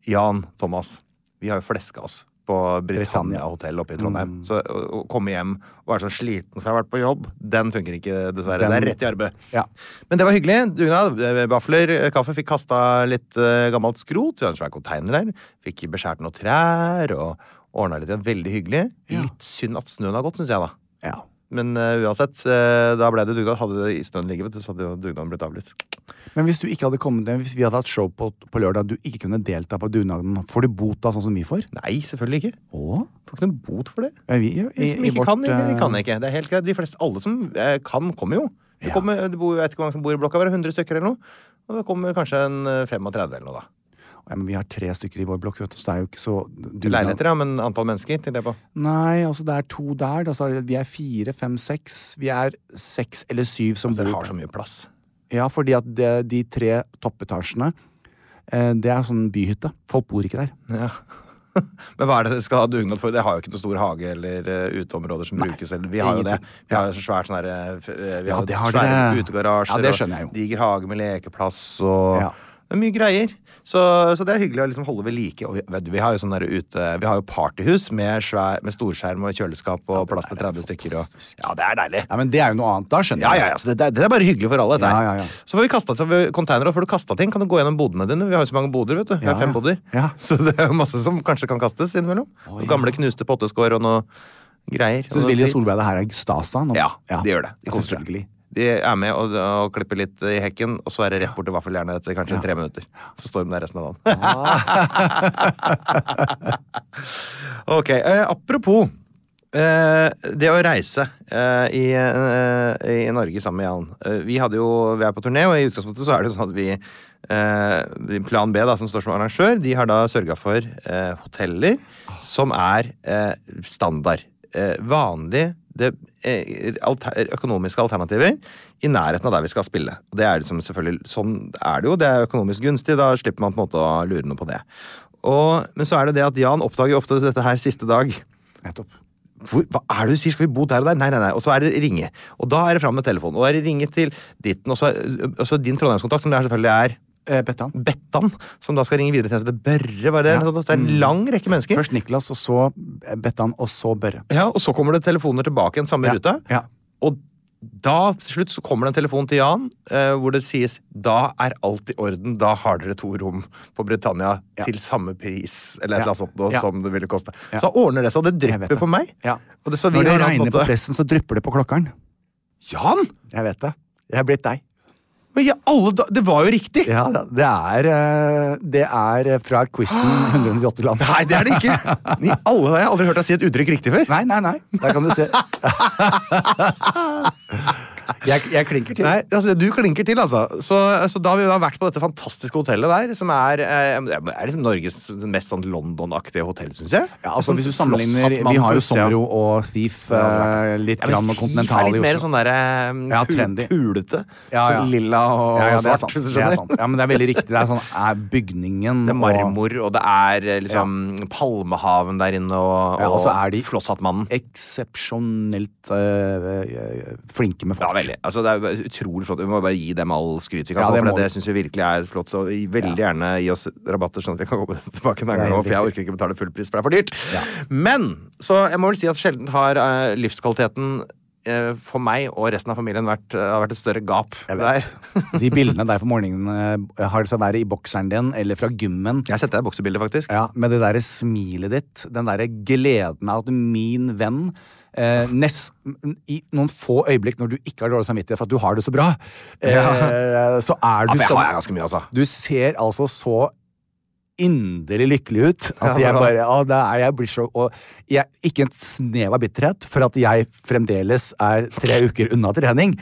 Jan Thomas, vi har jo fleska oss på Britannia hotell oppe i Trondheim. Så å å komme hjem og være så sliten for jeg har vært på jobb, den funker ikke, dessverre.
Den-
Det er rett i arbeid.
Ja.
Men det var hyggelig. Dugnad, eh, vafler, eh, kaffe. Fikk kasta litt eh, gammelt skrot. Vi hadde en svær container der. Fikk beskjært noen trær og ordna litt. igjen. Veldig hyggelig. Litt synd at snøen har gått, syns jeg, da.
Ja.
Men eh, uansett, eh, da ble det dugnad. Hadde det i snøen ligget, vet du, så hadde jo dugnaden blitt avlyst.
Men hvis du ikke hadde kommet ned, hvis vi hadde hatt show på, på lørdag, du ikke kunne delta på dugnaden, får du bot da, sånn som vi får?
Nei, selvfølgelig ikke.
Å?
Får ikke noen bot for det.
Ja, vi, i,
De
i,
som
i
ikke
vårt,
kan, ikke, de
eh,
kan ikke. Det er helt greit. De fleste, alle som eh, kan, kommer jo. Det
Ja.
kommer, det bor, jeg vet ikke hvor mange som bor i blokka, bare 100 stykker eller noe. Og det kommer kanskje en eh, 35 eller noe, da.
eh, Ja, men vi har tre stykker i vår blokk, vet du, så det er jo ikke så dugnad-
Leiligheter, ja, men antall mennesker, tenkte jeg på.
Nei, altså det er to der. Da, så er det, vi er fire, fem, seks. Vi er seks eller syv som
Dere
bor
har så mye plass.
Ja, fordi at det, de tre toppetasjene, eh, det er sånn byhytte. Folk bor ikke der.
Ja. (laughs) Men hva er det dere skal ha dugnad for? Dere har jo ikke noen stor hage eller eh, uteområder som brukes. Eller, vi har jo det.
ingenting.
Vi har jo så svært sånn herre Vi
Ja,
har
det
jo
har
svære
dere.
utegarasjer
Ja, det
og
skjønner jeg jo.
diger hage med lekeplass og
Ja.
Det er mye greier. Så, så det er hyggelig å liksom holde ved like. Og vi, vet du, vi har jo sånn der ute Vi har jo partyhus med, svær, med storskjerm og kjøleskap og plass til 30 stykker og Ja, det er deilig.
Ja, men det er jo noe annet. Da skjønner
Ja,
jeg.
ja, ja, så det, det er- det er bare hyggelig for alle. dette her.
Ja, ja, ja.
Så får vi kasta så vi- containere, og får du kasta ting, kan du gå gjennom bodene dine. Vi har jo så mange boder, vet du. Vi har
Ja,
fem
ja.
boder.
Ja.
Så det er jo masse som kanskje kan kastes innimellom. Og Gamle knuste potteskår og noe greier.
Syns
Og noe
Willy og
dritt.
Solveig det her er stas, da? nå?
Ja, de gjør det. De
Ja,
koser seg.
selvfølgelig.
De er med og, og klipper litt i hekken, og så er det rett bort til vaffeljernet etter kanskje tre minutter. Så står de der resten av dagen. (laughs) ok, eh, apropos eh, det å reise eh, i, eh, i Norge sammen med Jan. Eh, vi, hadde jo, vi er på turné, og i utgangspunktet så er det jo sånn at vi eh, Plan B, da, som står som arrangør, de har da sørga for eh, hoteller som er eh, standard. Eh, vanlig det, eh, alter, økonomiske alternativer i nærheten av der vi skal spille. Og Det er liksom selvfølgelig, Sånn er det jo. Det er økonomisk gunstig. Da slipper man på en måte å lure noe på det. Og, men så er det det at Jan oppdager ofte dette her siste dag.
Nettopp.
Hvor, hva er det du sier? Skal vi bo der og der? Nei, nei, nei. Og så er det ringe. Og da er det fram med telefonen. Og da er det ringe til ditten. Og så er- og så din Trondheimskontakt, som det er selvfølgelig er
Eh, Bettan.
Bettan, som da skal ringe videre til det Børre. Var det, eller noe sånt. det er en lang rekke mennesker.
Først Niklas, og så Bettan, og så Børre.
Ja, og så kommer det telefoner tilbake igjen, samme
Ja,
rute.
ja.
Og da til slutt så kommer det en telefon til Jan eh, hvor det sies da er alt i orden, da har dere to rom på Britannia
Ja.
til samme pris eller et eller
Ja.
annet sånt noe
Ja.
som det ville koste.
Ja.
Så ordner det seg, og det
Jeg vet
drypper på
det.
meg.
Ja.
Og det, så vi
Når det
har da på en
regner på
måte-
pressen, så drypper det på klokkeren.
Jan!
Jeg vet det. Jeg er blitt deg.
Men i alle da, det var jo riktig!
Ja, da, det er, eh, det er eh, fra quizen
(gasps)
198 land.
Nei, det er det
(laughs)
ikke! I alle dager, Jeg har aldri hørt deg si et uttrykk riktig før.
Nei, nei, nei. Der kan du
(laughs)
se. Jeg, jeg klinker til.
Nei, altså, du klinker til, altså. Så, så da har vi da vært på dette fantastiske hotellet der, som er, eh, det er liksom Norges mest sånn London-aktige hotell, syns jeg.
Ja, altså
Sånn
Hvis du sammenligner
flosshatt mann
Vi har
på
jo
utsida.
Somro og Thief. eh, litt
Ja,
grann
men
med
Thief er
Continental i
litt mer
Oslo.
sånn der
Ja,
ja,
trendy.
pulete.
Ja, ja.
Sånn lilla og
Ja, ja, det er
svart.
sant.
hvis du
Det er
skjønner.
sant. Ja, men det er veldig riktig. Det er sånn er bygningen
Det er
og
marmor, og det er eh, liksom Palmehaven der inne, og,
Ja, og så er de-
Flosshattmannen.
Eksepsjonelt eh, eh, flinke med
Ja,
folk.
veldig. Altså, det er utrolig flott. Vi må bare gi dem all skryt vi kan
Ja,
få,
det
for
må
det,
vi.
det syns vi virkelig er flott. Så veldig gjerne gi oss rabatter, sånn at vi kan komme (laughs) tilbake en
Det er
gang.
helt
For jeg
riktig.
orker ikke betale full pris, for det er for dyrt. Men så jeg må vel si at sjelden har eh, livskvaliteten eh, for meg og resten av familien vært, eh, har vært et større gap.
Jeg
Nei.
vet. De bildene der på morgenen eh, har det seg være i bokseren din eller fra gymmen.
Jeg sendte deg boksebildet, faktisk.
Ja, Med det derre smilet ditt, den derre gleden av at min venn eh, nest, I noen få øyeblikk når du ikke har dårlig samvittighet for at du har det så bra, eh, så er
Ja,
du
for jeg har jeg
sånn
ganske mye, altså.
Du ser altså så inderlig lykkelig ut at jeg bare å, det er, jeg blir så, og jeg, Ikke en snev av bitterhet for at jeg fremdeles er tre uker unna trening.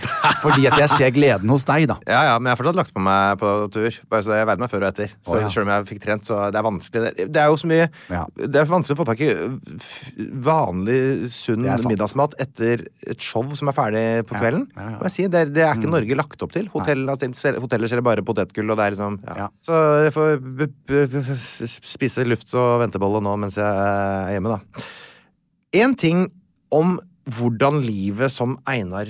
Fordi at jeg ser gleden hos deg, da.
Ja, ja, men jeg har fortsatt lagt på meg på tur. Bare så Jeg veide meg før og etter. Så
Å, ja.
Selv om jeg fikk trent, så det er vanskelig. Det- Det er jo så mye
Ja.
Det er vanskelig å få tak i f- vanlig, sunn
Det er sant.
middagsmat etter et show som er ferdig på kvelden.
ja, Mm. ja.
Og jeg sier, det, er- det er ikke Norge lagt opp til. Hotell, altså, sel- hoteller selger bare potetgull, og det er liksom ja.
Ja.
Så jeg får b b b spise luft og ventebolle nå mens jeg er hjemme, da. En ting om hvordan livet som Einar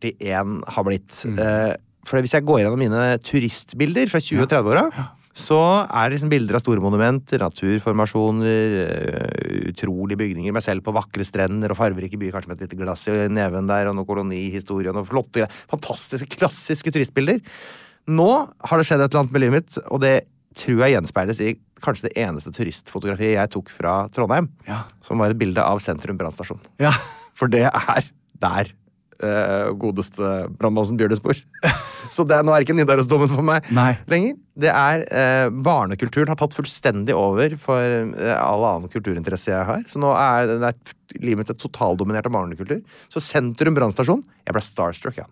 41 har blitt. Eh, for hvis jeg går gjennom mine turistbilder fra 20- og 30-åra, Så er det liksom bilder av store monumenter, naturformasjoner, eh, utrolige bygninger, meg selv på vakre strender og fargerike byer, kanskje med et lite glass i neven der, og noe kolonihistorie og noe flotte greier. Fantastiske, klassiske turistbilder. Nå har det skjedd et eller annet med livet mitt, og det tror jeg gjenspeiles i kanskje det eneste turistfotografiet jeg tok fra Trondheim,
Ja.
som var et bilde av sentrum brannstasjon.
Ja.
For det er der eh, godeste brannmåsen Bjørnes (laughs) bor. Så det, er- nå er ikke Nidarosdomen for meg
Nei.
lenger. Det er eh, Barnekulturen har tatt fullstendig over for eh, all annen kulturinteresse jeg har. Så nå er, det er livet mitt er totaldominert av barnekultur. Så sentrum brannstasjon Jeg ble starstruck, ja.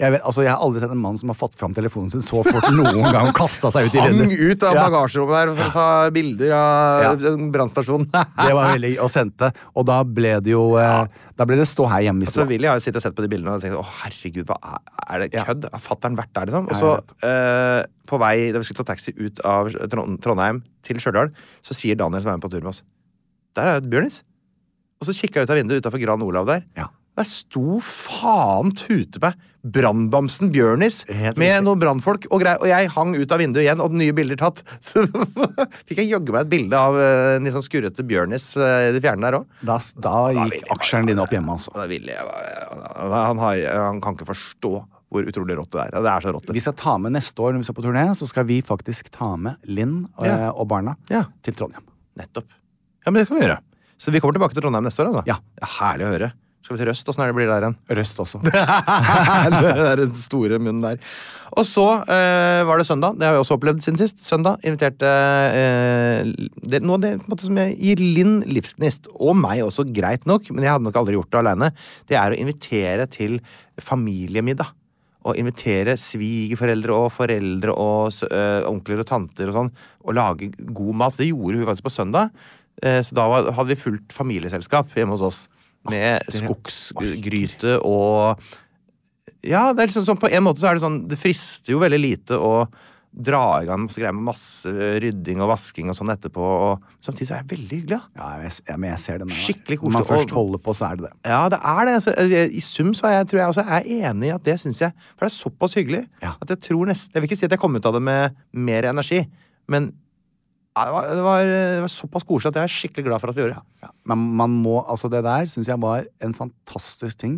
Jeg, vet, altså, jeg har aldri sett en mann som har fatt fram telefonen sin så fort noen gang og kasta seg ut i
Hang
rennet.
ut av
Ja.
bagasjerommet der for å ta bilder av
Ja.
en brannstasjon.
(laughs) Det var veldig Og sendte. Og da ble det jo eh, Da ble det stå her hjemme i
Så
stua.
Altså, Willy har jo sittet og sett på de bildene og tenkt å herregud, hva er, er det
Ja.
kødd? Har fatter'n vært der, liksom? Og
Ja,
så,
jeg
eh, på vei da vi skulle ta taxi ut av Trond- Trondheim til Stjørdal, så sier Daniel som er med på tur med oss, der er jo et bjørnis. Og så kikka jeg ut av vinduet utafor Gran Olav der.
Ja.
Der sto faen tute meg brannbamsen Bjørnis
Helt
med
riktig.
noen brannfolk og greier, og jeg hang ut av vinduet igjen, og nye bilder tatt. (laughs) Så fikk jeg jaggu meg et bilde av eh, en litt sånn skurrete Bjørnis eh, i det fjerne der òg.
Da, da gikk aksjene dine opp hjemme, altså.
Det er Willy, jeg var- han, har, han kan ikke forstå hvor utrolig rått det er. Det er så rått.
Vi
Det.
skal ta med neste år når vi skal på turné, så skal vi faktisk ta med Linn og,
Ja.
og barna
Ja.
til Trondheim.
Nettopp. Ja, men det kan vi gjøre. Så vi kommer tilbake til Trondheim neste år, altså?
Ja.
herlig å høre. Skal vi til Røst? Åssen er det blir der igjen?
Røst
(laughs)
også.
det er den store munnen der. Og så eh, var det søndag. Det har jeg også opplevd siden sist. Søndag inviterte eh, det, noe av det på en måte, som jeg gir Linn livsgnist, og meg også, greit nok, men jeg hadde nok aldri gjort det aleine, det er å invitere til familiemiddag. Å invitere svigerforeldre og foreldre og s- eh, onkler og tanter og sånn, og lage god mat. Så Det gjorde hun faktisk på søndag. Eh, så da var, hadde vi fullt familieselskap hjemme hos oss. Med skogsgryte og ja, det er liksom sånn, på en måte så er det sånn Det frister jo veldig lite å dra i gang masse greier med masse rydding og vasking og sånn etterpå. Og samtidig så er det veldig hyggelig, da.
Ja, jeg, ja, men jeg ser den. der.
Skikkelig
Når man
koselig.
først holder på, så er det det.
Ja, det er det. Altså, jeg- I sum så er jeg, tror jeg også er enig i at det syns jeg For det er såpass hyggelig
Ja.
at jeg tror nesten Jeg vil ikke si at jeg kom ut av det med mer energi, men ja, det, var, det, var, det var såpass koselig at jeg er skikkelig glad for at vi gjorde det.
Ja. Men man må, altså det der syns jeg var en fantastisk ting,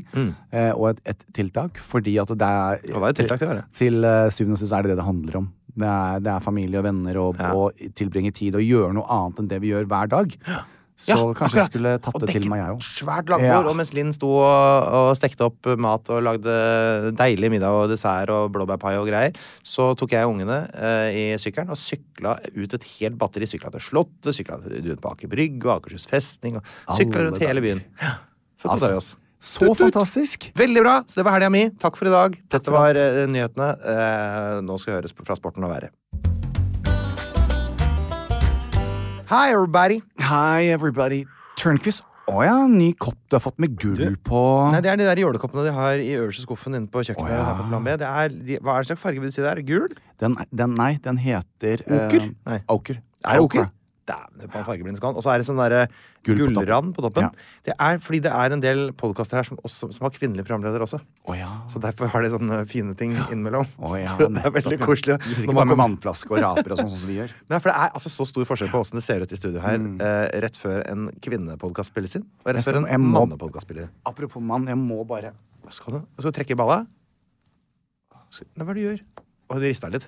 eh, og et, et tiltak, fordi at det er
Mm. Det var et tiltak, det var det.
Til eh, syvende og sist er det det det handler om. Det er, det er familie og venner og, og tilbringe tid og gjøre noe annet enn det vi gjør hver dag. Så kanskje jeg skulle tatt det til meg, jeg
Og
òg.
dekket svært langbord.
Ja.
Og mens Linn sto og, og stekte opp mat og lagde deilig middag og dessert og blåbærpai og greier, så tok jeg ungene eh, i sykkelen og sykla ut et helt batteri. Sykla til Slottet, sykla til ut på Aker Brygge og Akershus festning. Og sykla
Alle
rundt hele
dager. Altså.
byen. Ja. Så kosa vi oss.
Så fantastisk!
Veldig bra! Så det var helga mi. Takk for i dag. Dette var eh, nyhetene. Eh, nå skal vi høres fra Sporten og været. Hi, everybody!
Hi everybody. Turnquist. Å ja, ny kopp du har fått med gull på.
Nei, det er de der jålekoppene de har i øverste skuffen inne på kjøkkenet.
Å, ja.
her på plan B. Det er, de, hva er det slags farge vil du si det er? Gul?
Den, den, nei, den heter
Oker?
Eh,
Nei.
Oker.
Er det ok? Dæven, det er bare fargeblind som kan. Og så er det sånn derre
Gull på
gullrand på toppen.
Ja.
Det er fordi det er en del podkaster her som, også, som har kvinnelige programledere også.
Å ja.
Så derfor har de sånne fine ting innimellom.
Å ja,
(laughs) Så det er veldig
nettopp, ja.
koselig.
Du sitter
Når man
ikke bare med
kommer-
vannflaske og raper og sånn sånn som vi
(laughs)
gjør.
Nei, for det er altså så stor forskjell på åssen det ser ut i studio her eh, rett før en kvinnepodkast spilles inn, og
Mm. Jeg
rett
skal-
før
jeg
en
må-
mannepodkast spilles inn.
Apropos mann, jeg må bare
Hva skal du? Skal du trekke i balla? Skal- Nei, hva er det du gjør? Å, du rista litt.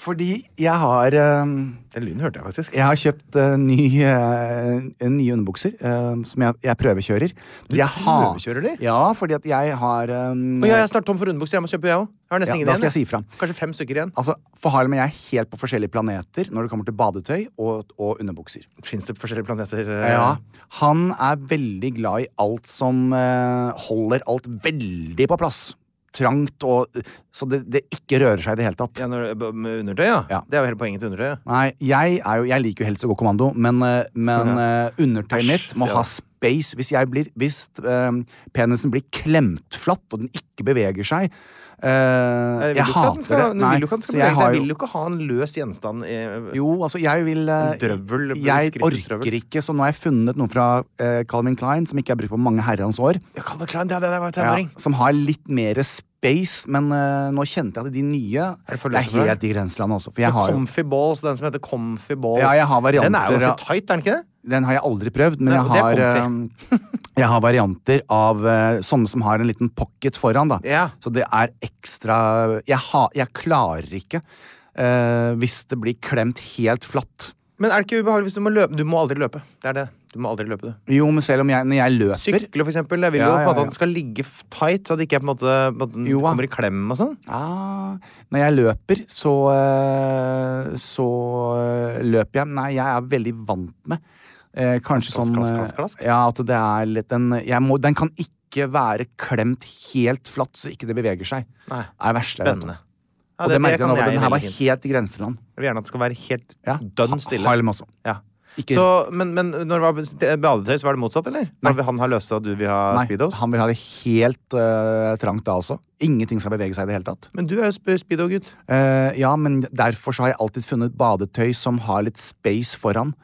Fordi jeg har eh,
Den lyden hørte jeg faktisk.
Jeg har kjøpt eh, ny, eh, nye underbukser eh, som jeg, jeg prøvekjører. Du
prøvekjører de?
Ja, fordi at jeg har um,
Og jeg er snart tom for underbukser. Jeg må kjøpe, jeg òg. Jeg har nesten
Ja,
ingen
da
igjen.
skal jeg si ifra.
Kanskje fem stykker igjen.
Altså, For Harlem og jeg er helt på forskjellige planeter når det kommer til badetøy og, og underbukser.
Fins det forskjellige planeter? eh?
Ja, Han er veldig glad i alt som eh, holder alt veldig på plass. Trangt og Så det, det ikke rører seg i det hele tatt.
ja når, eh, b- med undertøy, ja.
Ja.
Det er jo hele poenget til undertøy. Ja.
Nei, jeg, er jo, jeg liker jo helst å gå kommando, men, eh, men eh, undertøyet mitt må
ja.
ha space. Hvis, jeg blir, hvis eh, penisen blir klemt flatt, og den ikke beveger seg eh,
Jeg vil jo ikke at den
Jeg hater det.
skal- den
Nei,
vil jo ikke at den skal
så jeg
bevege seg.
har
Jeg vil
jo
jo ikke ha en løs gjenstand i
jo, altså, jeg vil eh,
En drøvel,
Jeg
skrittdrøvel.
orker ikke, så nå har jeg funnet noe fra eh, Calvin Klein som ikke er brukt på mange herrens år.
Kalle Klein, det, det, det var
Ja,
tenåring.
som har litt mer Base, men eh, nå kjente jeg at de nye
Er det
det
for
er
løse for deg?
helt i grenselandet også. For jeg har, jo-
Comfy Balls, den som heter Comfy Balls.
Ja, jeg har varianter
Den er jo
av-
ganske tight, er den ikke det?
den har jeg aldri prøvd, men
Nei,
jeg
det er
har, eh, (laughs) jeg har varianter av eh, sånne som har en liten pocket foran. da.
Ja.
Så det er ekstra Jeg, ha, jeg klarer ikke eh, hvis det blir klemt helt flatt.
Men er det ikke ubehagelig hvis du må løpe? Du må aldri løpe. Det er det. Du må aldri løpe, du.
Jo, men selv om jeg, når jeg løper
Sykle, for eksempel. Jeg vil
Ja,
jo på en
ja,
måte
ja.
at den skal ligge f- tight, så det ikke er på en måte at den
Jo, ja.
kommer i klem og sånn.
Ah, når jeg løper, så eh, Så eh, løper jeg Nei, jeg er veldig vant med eh, Kanskje
Klask,
sånn
klask,
eh,
klask, klask.
Ja, at det er litt en jeg må, Den kan ikke være klemt helt flatt så ikke det beveger seg.
Nei.
Det er det verste jeg vet om.
Spennende. Ja,
Og det, merker jeg nå,
kan
for den her var
veldig fint.
helt i grenseland.
Jeg vil gjerne at det skal være helt
Ja.
dønn stille.
Harlem også.
Ja.
Ikke-
Så, men, men når det var badetøy, så var det motsatt, eller? Når han har løse, og du vil ha
Nei,
speedos?
han vil ha det helt eh, trangt da også. Ingenting skal bevege seg i det hele tatt.
Men du er jo sp- speedo-gutt.
Eh, ja, men derfor så har jeg alltid funnet badetøy som har litt space foran.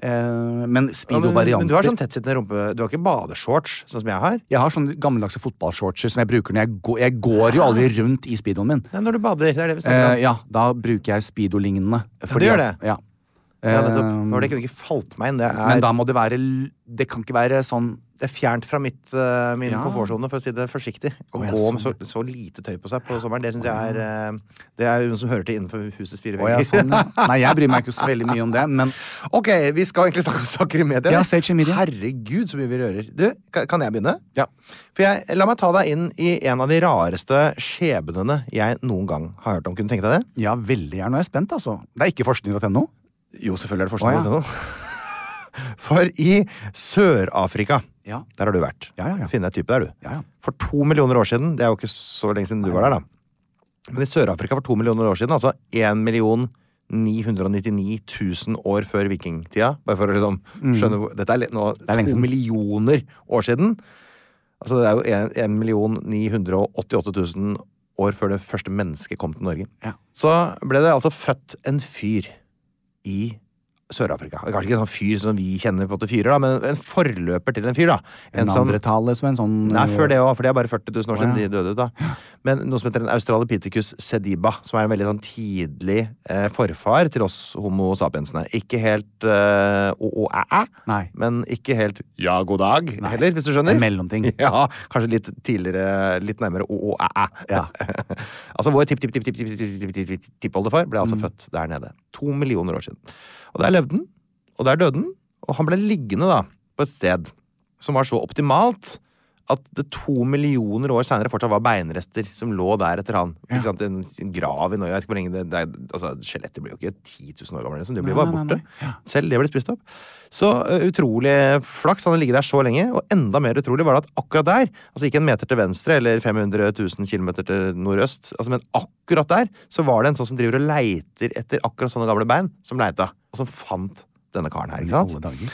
Eh, men
Ja, men,
speedo-varianter.
men du har sånn tettsittende rumpe. Du har ikke badeshorts, sånn som jeg har.
Jeg har sånne gammeldagse fotballshortser som jeg bruker når jeg går Jeg går jo aldri rundt i speedoen min.
Nei, når du bader. Det er det vi snakker om.
Eh, ja, da bruker jeg speedo-lignende. fordi
gjør
at-
det.
Ja.
Ja, nettopp.
Eh,
Nå var det kunne ikke falt meg inn. Det er,
men da må det være l- Det kan ikke være sånn
det er fjernt fra mitt, eh, min
Ja.
komfortsone, for å si det forsiktig. Å
Å, ja,
gå om så,
sånn.
så lite tøy på seg på sommeren, det syns jeg er eh, Det er noe som hører til innenfor husets fire
Å ja,
vegger.
sånn,
(laughs)
ja. Nei, jeg bryr meg ikke så veldig mye om det, men
ok, vi skal egentlig snakke om saker i media.
Ja,
eller?
saker i media.
Herregud, så mye vi rører. Du, ka- kan jeg begynne?
Ja.
For jeg, la meg ta deg inn i en av de rareste skjebnene jeg noen gang har hørt om. Kunne du tenke deg det?
ja, veldig gjerne. Jeg er spent, altså. Det er ikke forskning.no?
Jo, selvfølgelig er det
Å, ja.
forskning.no. (laughs) For i Sør-Afrika,
Ja.
der har du vært.
Ja, ja, ja.
Finne en type der, du.
Ja, ja.
For to millioner år siden, det er jo ikke så lenge siden du var der, da. Men i Sør-Afrika for to millioner år siden, altså 1 million 999 000 år før vikingtida, bare for å liksom skjønne hvor Dette er litt nå
Mm. er lenge
to
siden.
millioner år siden. Altså det er jo 1, 1 million 988 000 år før det første mennesket kom til Norge.
Ja.
Så ble det altså født en fyr i Sør-Afrika. Kanskje ikke en sånn fyr som vi kjenner på at det fyrer, da, men en forløper til en fyr. da.
En
som-
andretale som en sånn
Nei,
eh,
før det òg, for det er bare 40 000 år siden
Å, ja.
de døde. da. Men noe som heter en australopithecus sediba, som er en veldig sånn tidlig eh, forfar til oss homo sapiensene. Ikke helt eh, å-å-æ-æ,
Nei.
men ikke helt ja, god dag heller, hvis du skjønner.
En mellomting.
(laughs) Ja, kanskje litt tidligere, litt nærmere å-å-æ-æ.
Ja.
(laughs) altså vår tipp-tipp-tipp-tipp-tippoldefar ble altså
Mm.
født der nede. To millioner år siden. Og der levde den, og der døde den, og han ble liggende da, på et sted som var så optimalt at det to millioner år seinere fortsatt var beinrester som lå der etter han. Ikke sant? En en grav i Norge. Jeg vet ikke hvor lenge det, det er, altså, Skjelettet blir jo ikke 10 000 år gamle. Liksom. Det blir
Nei,
bare
nei,
borte.
nei, nei.
Selv det ble spist opp. Så ø, utrolig flaks. Han har ligget der så lenge. Og enda mer utrolig var det at akkurat der, altså ikke en meter til venstre eller 500 000 km til nordøst, altså, men akkurat der så var det en sånn som driver og leiter etter akkurat sånne gamle bein, som leita, og som fant denne karen her. ikke
I
sant?
alle dager.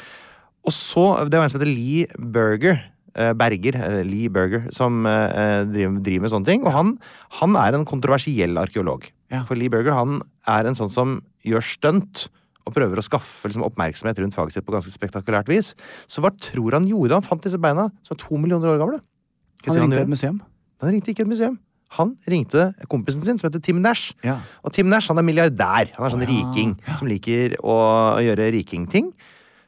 Og så, det var en som heter Lee Berger, eh, Berger, eh, Lee Berger, som eh, eh, driver, driver med sånne ting. Og han, han er en kontroversiell arkeolog.
Ja.
For Lee Berger han er en sånn som gjør stunt og prøver å skaffe liksom, oppmerksomhet rundt faget sitt på ganske spektakulært vis. Så hva tror han gjorde da han fant disse beina, som er to millioner år gamle? Skal jeg si
Han
hva
ringte et
gjorde?
museum.
Han ringte ikke et museum. Han ringte kompisen sin, som heter Tim Nash.
Ja.
Og Tim Nash han er milliardær. Han er sånn riking som liker å gjøre rikingting.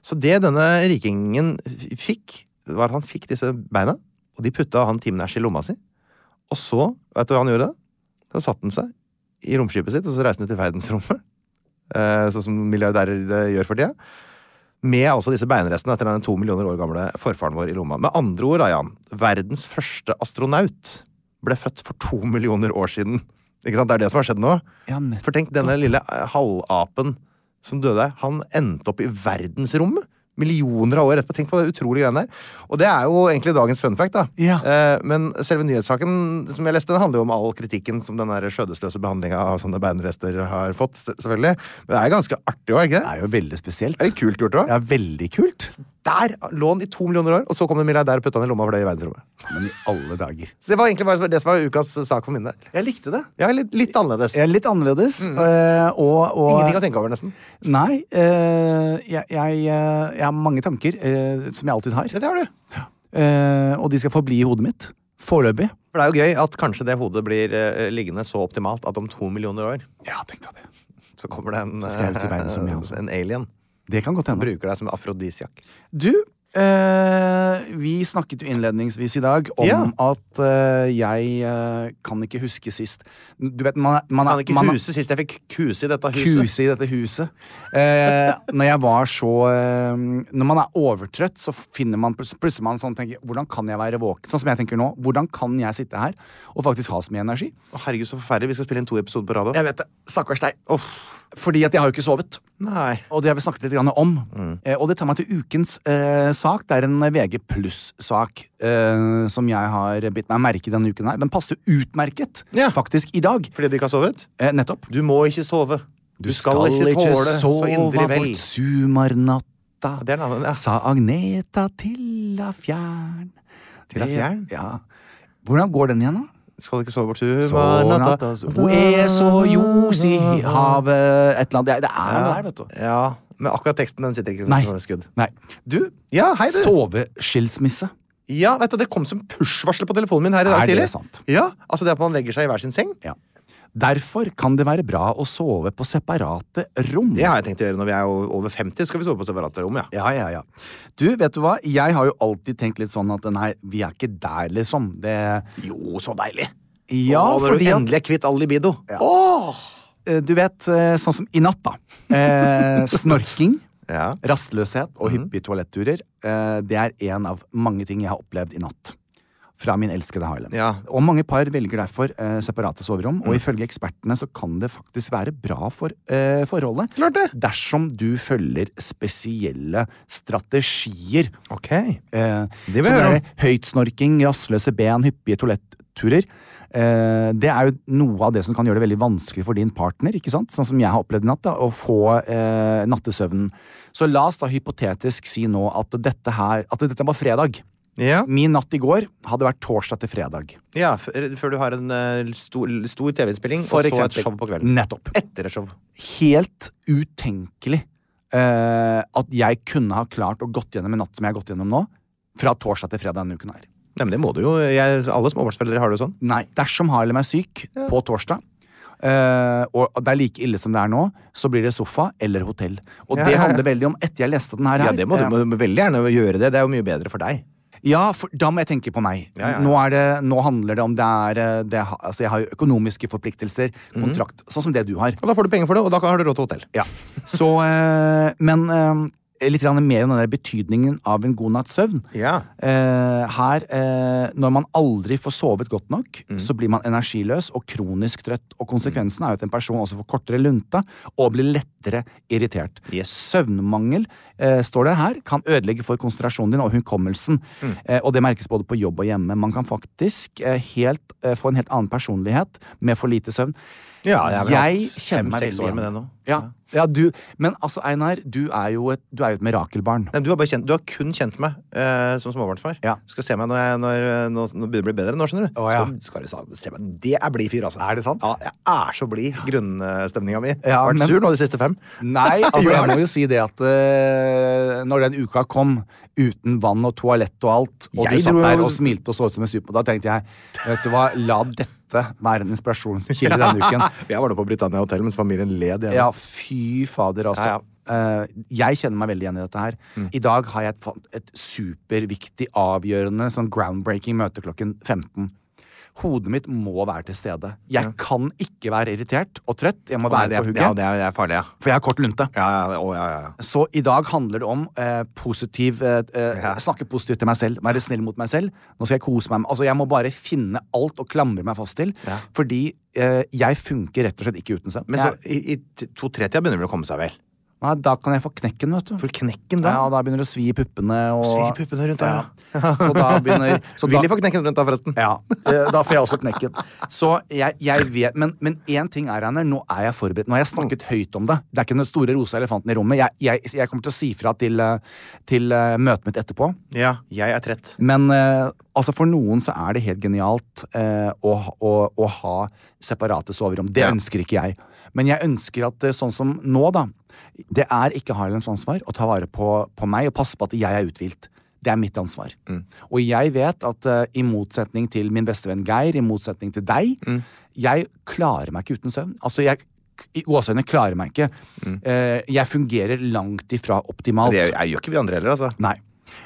Så det denne rikingen f- fikk, var at han fikk disse beina, og de putta han Tim Nash i lomma si. Og så, vet du hva han gjorde? Da satte han seg i romskipet sitt, og så reiste han ut i verdensrommet. Eh, sånn som milliardærer eh, gjør for tida. Med altså disse beinrestene etter den to millioner år gamle forfaren vår i lomma. Med andre ord, da, Jan, verdens første astronaut ble født for to millioner år siden. Ikke sant? Det er det som har skjedd nå.
Ja, nett-
For tenk, denne lille eh, halvapen som døde, han endte opp i verdensrommet. Millioner av år etterpå. Tenk på det utrolige greiene der. Og det er jo egentlig dagens fun fact, da.
Ja.
Eh, men selve nyhetssaken som jeg leste, den handler jo om all kritikken som den der skjødesløse behandlinga av sånne beinrester har fått, se- selvfølgelig. Men det er ganske artig òg, ikke
Det
det?
er jo veldig spesielt.
Er det kult gjort òg?
Ja, veldig kult.
Der lå han i to millioner år, og så kom det en milliardær og putta han i lomma og fløy i verdensrommet.
Men i alle dager.
Så det var egentlig bare det som var ukas sak på minnet.
Jeg likte det.
Ja, litt, litt annerledes.
Jeg er litt annerledes.
Mm.
eh, Og, og
Ingenting å tenke over, nesten.
Nei. eh, jeg, jeg, eh, jeg har mange tanker, eh, som jeg alltid har.
Ja, det har du.
Eh, og de skal forbli i hodet mitt. Foreløpig.
For det er jo gøy at kanskje det hodet blir eh, liggende så optimalt at om to millioner år
Ja, tenk deg det.
så kommer det en,
Så skal jeg ut i verden som jeg også.
eh, en alien.
Det kan godt hende.
Bruker deg som afrodisiak.
Du, eh, vi snakket jo innledningsvis i dag om
Ja.
at eh, jeg eh, kan ikke huske sist. Du vet, man er, man
Kan
er,
ikke
man er
huse sist jeg fikk kuse i dette huset.
kuse i dette huset. Eh, når jeg var så eh, Når man er overtrøtt, så finner man plutselig plutselig man sånn tenker Hvordan kan jeg være våken? Sånn som jeg tenker nå. Hvordan kan jeg sitte her og faktisk ha så mye energi?
Å, Herregud, så forferdelig. Vi skal spille inn to episoder på radio.
Jeg vet det. Stakkars deg. Fordi at jeg har jo ikke sovet.
Nei.
Og det har vi snakket litt grann om. Eh, og det tar meg til ukens eh, sak. Det er en VG pluss-sak eh, som jeg har bitt meg merke i denne uken her. Den passer utmerket
Ja.
faktisk i dag.
Fordi du ikke har sovet?
Eh, nettopp.
Du må ikke sove. Du, skal, ikke tåle så indre vel.
bort sumarnatta,
Det er en annen, ja.
sa Agneta til la fjern.
Til la
Det-
fjern?
Ja. Hvordan går den igjen, da?
Skal ikke sove bort
Sovnatta,
sumarnatta.
Hun er så ljos i havet Et eller annet. Det er- Det er noe der, vet du.
Ja, men akkurat teksten den sitter ikke
Nei.
som et skudd.
Nei. Du,
Ja, hei du.
soveskilsmisse.
Ja, vet du, det kom som push-varsel på telefonen min her i dag
Er det
tidlig.
sant?
Ja, altså det er at man legger seg i hver sin seng.
Ja. Derfor kan det være bra å sove på separate rom.
Det har jeg tenkt å gjøre når vi er o- over 50, skal vi sove på separate rom, ja.
Ja, ja, ja. Du, vet du hva? Jeg har jo alltid tenkt litt sånn at nei, vi er ikke der, liksom. Det
Jo, så deilig.
Ja,
Å, når
fordi
du
at
endelig er kvitt all libido. Ja.
eh, Du vet, eh, sånn som i natt, da.
(laughs)
Eh, snorking,
Ja. Mhm.
rastløshet og hyppige toaletturer. Eh, det er en av mange ting jeg har opplevd i natt. Fra min elskede Harlem.
Ja. Mhm.
Og mange par velger derfor eh, separate soverom, og ifølge ekspertene så kan det faktisk være bra for eh, forholdet.
Klart det.
Dersom du følger spesielle strategier.
Ok.
Eh,
Det vil
så
jeg høre om.
der Høytsnorking, rastløse ben, hyppige toaletturer. Eh, det er jo noe av det som kan gjøre det veldig vanskelig for din partner, ikke sant? sånn som jeg har opplevd i natt, da, å få eh, nattesøvnen. Så la oss da hypotetisk si nå at dette her At dette var fredag.
Ja.
Min natt i går hadde vært torsdag til fredag.
Ja, f- før du har en eh, stor, stor TV-innspilling og
For
så et
eksempel.
show på kvelden.
Nettopp.
Etter et show.
Helt utenkelig eh, at jeg kunne ha klart å gått gjennom en natt som jeg har gått gjennom nå, fra torsdag til fredag denne uken her.
Nei, men det må du jo. Jeg, alle småbarnsforeldre har det jo sånn.
Nei, dersom Harlem er syk på torsdag, eh, og det er like ille som det er nå, så blir det sofa eller hotell. Og
Ja,
det
ja, ja.
handler veldig om etter jeg leste den her.
Ja,
her,
det må du
eh,
må, du veldig gjerne gjøre det. Det er jo mye bedre for deg.
Ja, for da må jeg tenke på meg.
Ja, ja, ja.
Nå, er det, nå handler det om det er eh, det, ha- Altså, jeg har jo økonomiske forpliktelser,
Mhm.
kontrakt, sånn som det du har.
Og da får du penger for det, og da har du råd til hotell.
Ja. Så eh, Men eh, litt grann mer om den der betydningen av en god natts søvn.
Ja.
Eh, her, eh, når man aldri får sovet godt nok,
Mm.
så blir man energiløs og kronisk trøtt. Og konsekvensen er jo at en person også får kortere lunte og blir lettere irritert.
Yes.
Søvnmangel, eh, står det her, kan ødelegge for konsentrasjonen din og hukommelsen.
Mm.
Eh, og det merkes både på jobb og hjemme. Man kan faktisk eh, helt, eh, få en helt annen personlighet med for lite søvn.
Ja, jeg har vel
Jeg
hatt
kjenner meg
fem-seks
veldig
år med det
igjen.
nå.
Ja, ja du, men altså, Einar, du er jo et, du er jo et mirakelbarn.
Nei, du, har bare kjent, du har kun kjent meg eh, som småbarnsfar.
Ja.
Du skal se meg når jeg når, når, når det begynner å bli bedre. Nå skjønner du
Å, ja.
Så skal du sa- se meg. Det er blid fyr, altså.
Er det sant?
Ja, jeg er så blid. Grunnstemninga mi.
Ja,
Vært
men-
sur nå de siste fem. (laughs)
Nei, altså
Jo,
jeg
er
må
det?
jo si det at eh, når den uka kom uten vann og toalett og alt, og
Jeg
du satt
dro
der
jo-
og smilte og så ut som en supermodell, da tenkte jeg vet du hva, la dette være en inspirasjonskilde denne uken.
(laughs) Jeg var nå på Britannia Hotel mens familien led igjen.
Ja, fy fader,
Ja,
altså.
Mm. ja.
Eh, jeg kjenner meg veldig igjen i dette her. I dag har jeg et, fan- et superviktig, avgjørende, sånn groundbreaking møte klokken 15. Hodet mitt må være til stede. Jeg kan ikke være irritert og trøtt. Jeg må
Nei,
være
det,
på
er,
hugget.
ja, det, er, det er farlig, ja.
For jeg har kort lunte.
Ja, ja, å, ja, ja, ja.
Så i dag handler det om eh, positiv eh, eh, Snakke positivt til meg selv. Være snill mot meg selv. Nå skal jeg kose meg. med- Altså, Jeg må bare finne alt og klamre meg fast til. Fordi eh, jeg funker rett og slett ikke uten søvn.
Men så,
Jeg-
i, i t- to-tre-tida begynner det å komme seg vel.
Nei, da kan jeg få knekken, vet du.
For knekken da?
ja, da begynner det å svi i puppene. Og...
Svi i puppene rundt, ja.
Så da begynner så da...
Vil de få knekken rundt da, forresten?
Ja, (laughs) eh, da får jeg også knekken. Så jeg, jeg vet, Men men én ting er, Einar, nå er jeg forberedt. Nå har jeg snakket høyt om det. Det er ikke den store rosa elefanten i rommet. Jeg, jeg, jeg kommer til å si fra til, eh, til eh, møtet mitt etterpå.
Ja, jeg er trett.
Men eh, altså for noen så er det helt genialt eh, å, å, å ha separate soverom. Det
Ja.
ønsker ikke jeg. Men jeg ønsker at eh, sånn som nå, da Det er ikke Harlems ansvar å ta vare på, på meg og passe på at jeg er uthvilt. Det er mitt ansvar.
Mm.
Og jeg vet at eh, i motsetning til min bestevenn Geir, i motsetning til deg,
Mm.
jeg klarer meg ikke uten søvn. Altså, jeg i gåseøynene klarer meg ikke. Eh, jeg fungerer langt ifra optimalt.
Mm. Det jeg gjør ikke vi andre heller, altså.
Nei.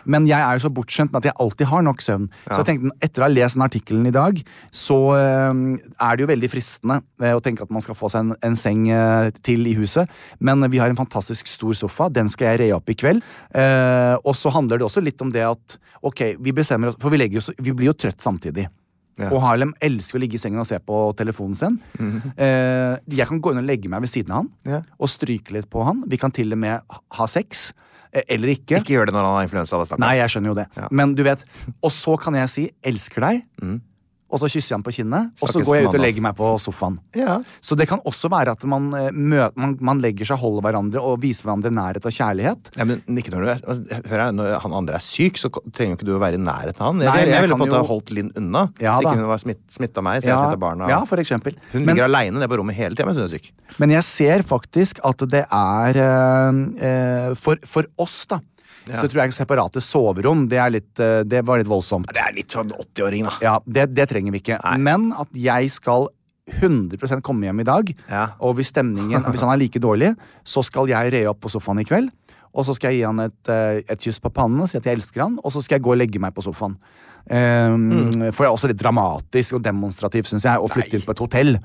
Men jeg er jo så bortskjemt med at jeg alltid har nok søvn. Så jeg tenkte, etter å ha lest den artikkelen i dag, så eh, er det jo veldig fristende eh, å tenke at man skal få seg en, en seng eh, til i huset. Men vi har en fantastisk stor sofa. Den skal jeg re opp i kveld. Eh, og så handler det også litt om det at ok, vi bestemmer oss For vi, legger oss, vi blir jo trøtt samtidig. Og Harlem elsker å ligge i sengen og se på telefonen sin. Eh, jeg kan gå inn og legge meg ved siden av han
Ja.
og stryke litt på han. Vi kan til og med ha- ha sex. eh, Eller ikke.
Ikke gjør det når han har influensa. da, stakkar.
Nei, jeg skjønner jo det.
Ja. Mm.
Men du vet, og så kan jeg si 'elsker deg', og så kysser jeg ham på kinnet, og så
Snakkes
går jeg ut og
mandag.
legger meg på sofaen.
Ja.
Så det kan også være at man, eh, mø- man, man legger seg, holder hverandre og viser hverandre nærhet og kjærlighet.
Nei, men ikke når du er altså, Hør her, når han andre er syk, så ko- trenger jo ikke du å være i nærheten av han.
Nei,
Jeg,
men
jeg,
jeg
ville
kan
på en måte
jo-
ha holdt Linn unna.
Ja,
hvis
da.
ikke hun var smitt, smitta meg, så jeg smittet barna.
ja, for eksempel.
hun
Men-
ligger aleine nede på rommet hele tida mens hun er syk.
Men jeg ser faktisk at det er eh, eh, for, for oss, da. Så tror jeg separate soverom det, er litt, eh, det var litt voldsomt.
Det er litt sånn 80-åring, da.
Ja, det, det trenger vi ikke. Men at jeg skal 100 komme hjem i dag,
Ja.
og hvis stemningen hvis han er like dårlig, så skal jeg re opp på sofaen i kveld. Og så skal jeg gi han et, eh, et kyss på pannen og si at jeg elsker han, og så skal jeg gå og legge meg på sofaen. Ehm,
Mm.
For det er også litt dramatisk og demonstrativt, syns jeg, å flytte inn på et hotell.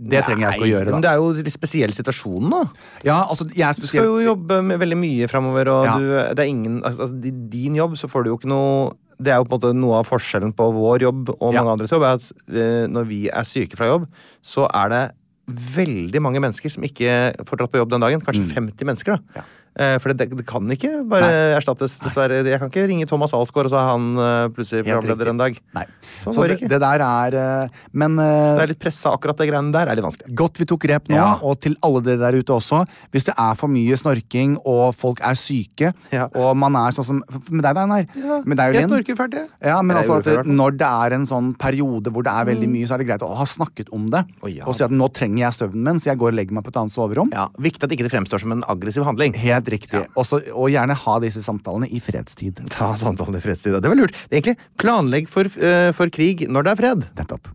Det trenger jeg ikke å
Nei,
gjøre,
Men det
da.
er jo litt spesiell situasjon, da.
Ja, altså, jeg er
Du skal
spesielt
jo jobbe med veldig mye framover, og
Ja.
du, det er ingen altså, altså, I din jobb så får du jo ikke noe det er jo på en måte noe av forskjellen på vår jobb og
Ja.
mange andres jobb. er at eh, Når vi er syke fra jobb, så er det veldig mange mennesker som ikke får dratt på jobb den dagen. Kanskje
Mm.
50 mennesker. da. Eh, For det, det kan ikke bare erstattes, dessverre. Jeg kan ikke ringe Thomas Alsgaard, og så er han eh, plutselig
Helt
programleder
riktig.
en dag.
Nei.
Sånn
Så
går
det,
det ikke.
det der er eh, Men eh,
Det er litt pressa akkurat det greiene der. er litt vanskelig.
Godt vi tok grep nå,
Ja.
og til alle dere der ute også. Hvis det er for mye snorking, og folk er syke,
Ja.
og man er sånn som Med deg, Einar. Med deg,
Jeg
Linn.
snorker ferdig.
Ja, men
Eller jeg
altså
gjorde det i hvert
at
fall.
Når det er en sånn periode hvor det er
Mm.
veldig mye, så er det greit å ha snakket om det.
Å, ja.
Og si at nå trenger jeg søvnen min, så jeg går og legger meg på et annet soverom.
Ja, Viktig at ikke det fremstår som en aggressiv handling.
Helt riktig. Og så- og gjerne ha disse samtalene i fredstid.
Ta samtalen i fredstid. ja. Det var lurt. Egentlig, planlegg for, eh, for krig når det er fred.
Nettopp.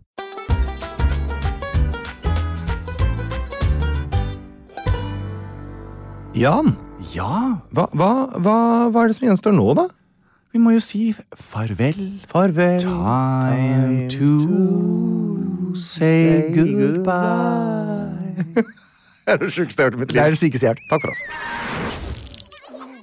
Jan,
Ja,
hva, hva, hva, hva er det som gjenstår nå, da?
vi må jo si farvel.
Farvel.
Time to say goodbye.
Det er det sjukeste jeg har hørt i mitt
(laughs) Det er det
liv.
sykeste jeg har hørt.
Takk for oss.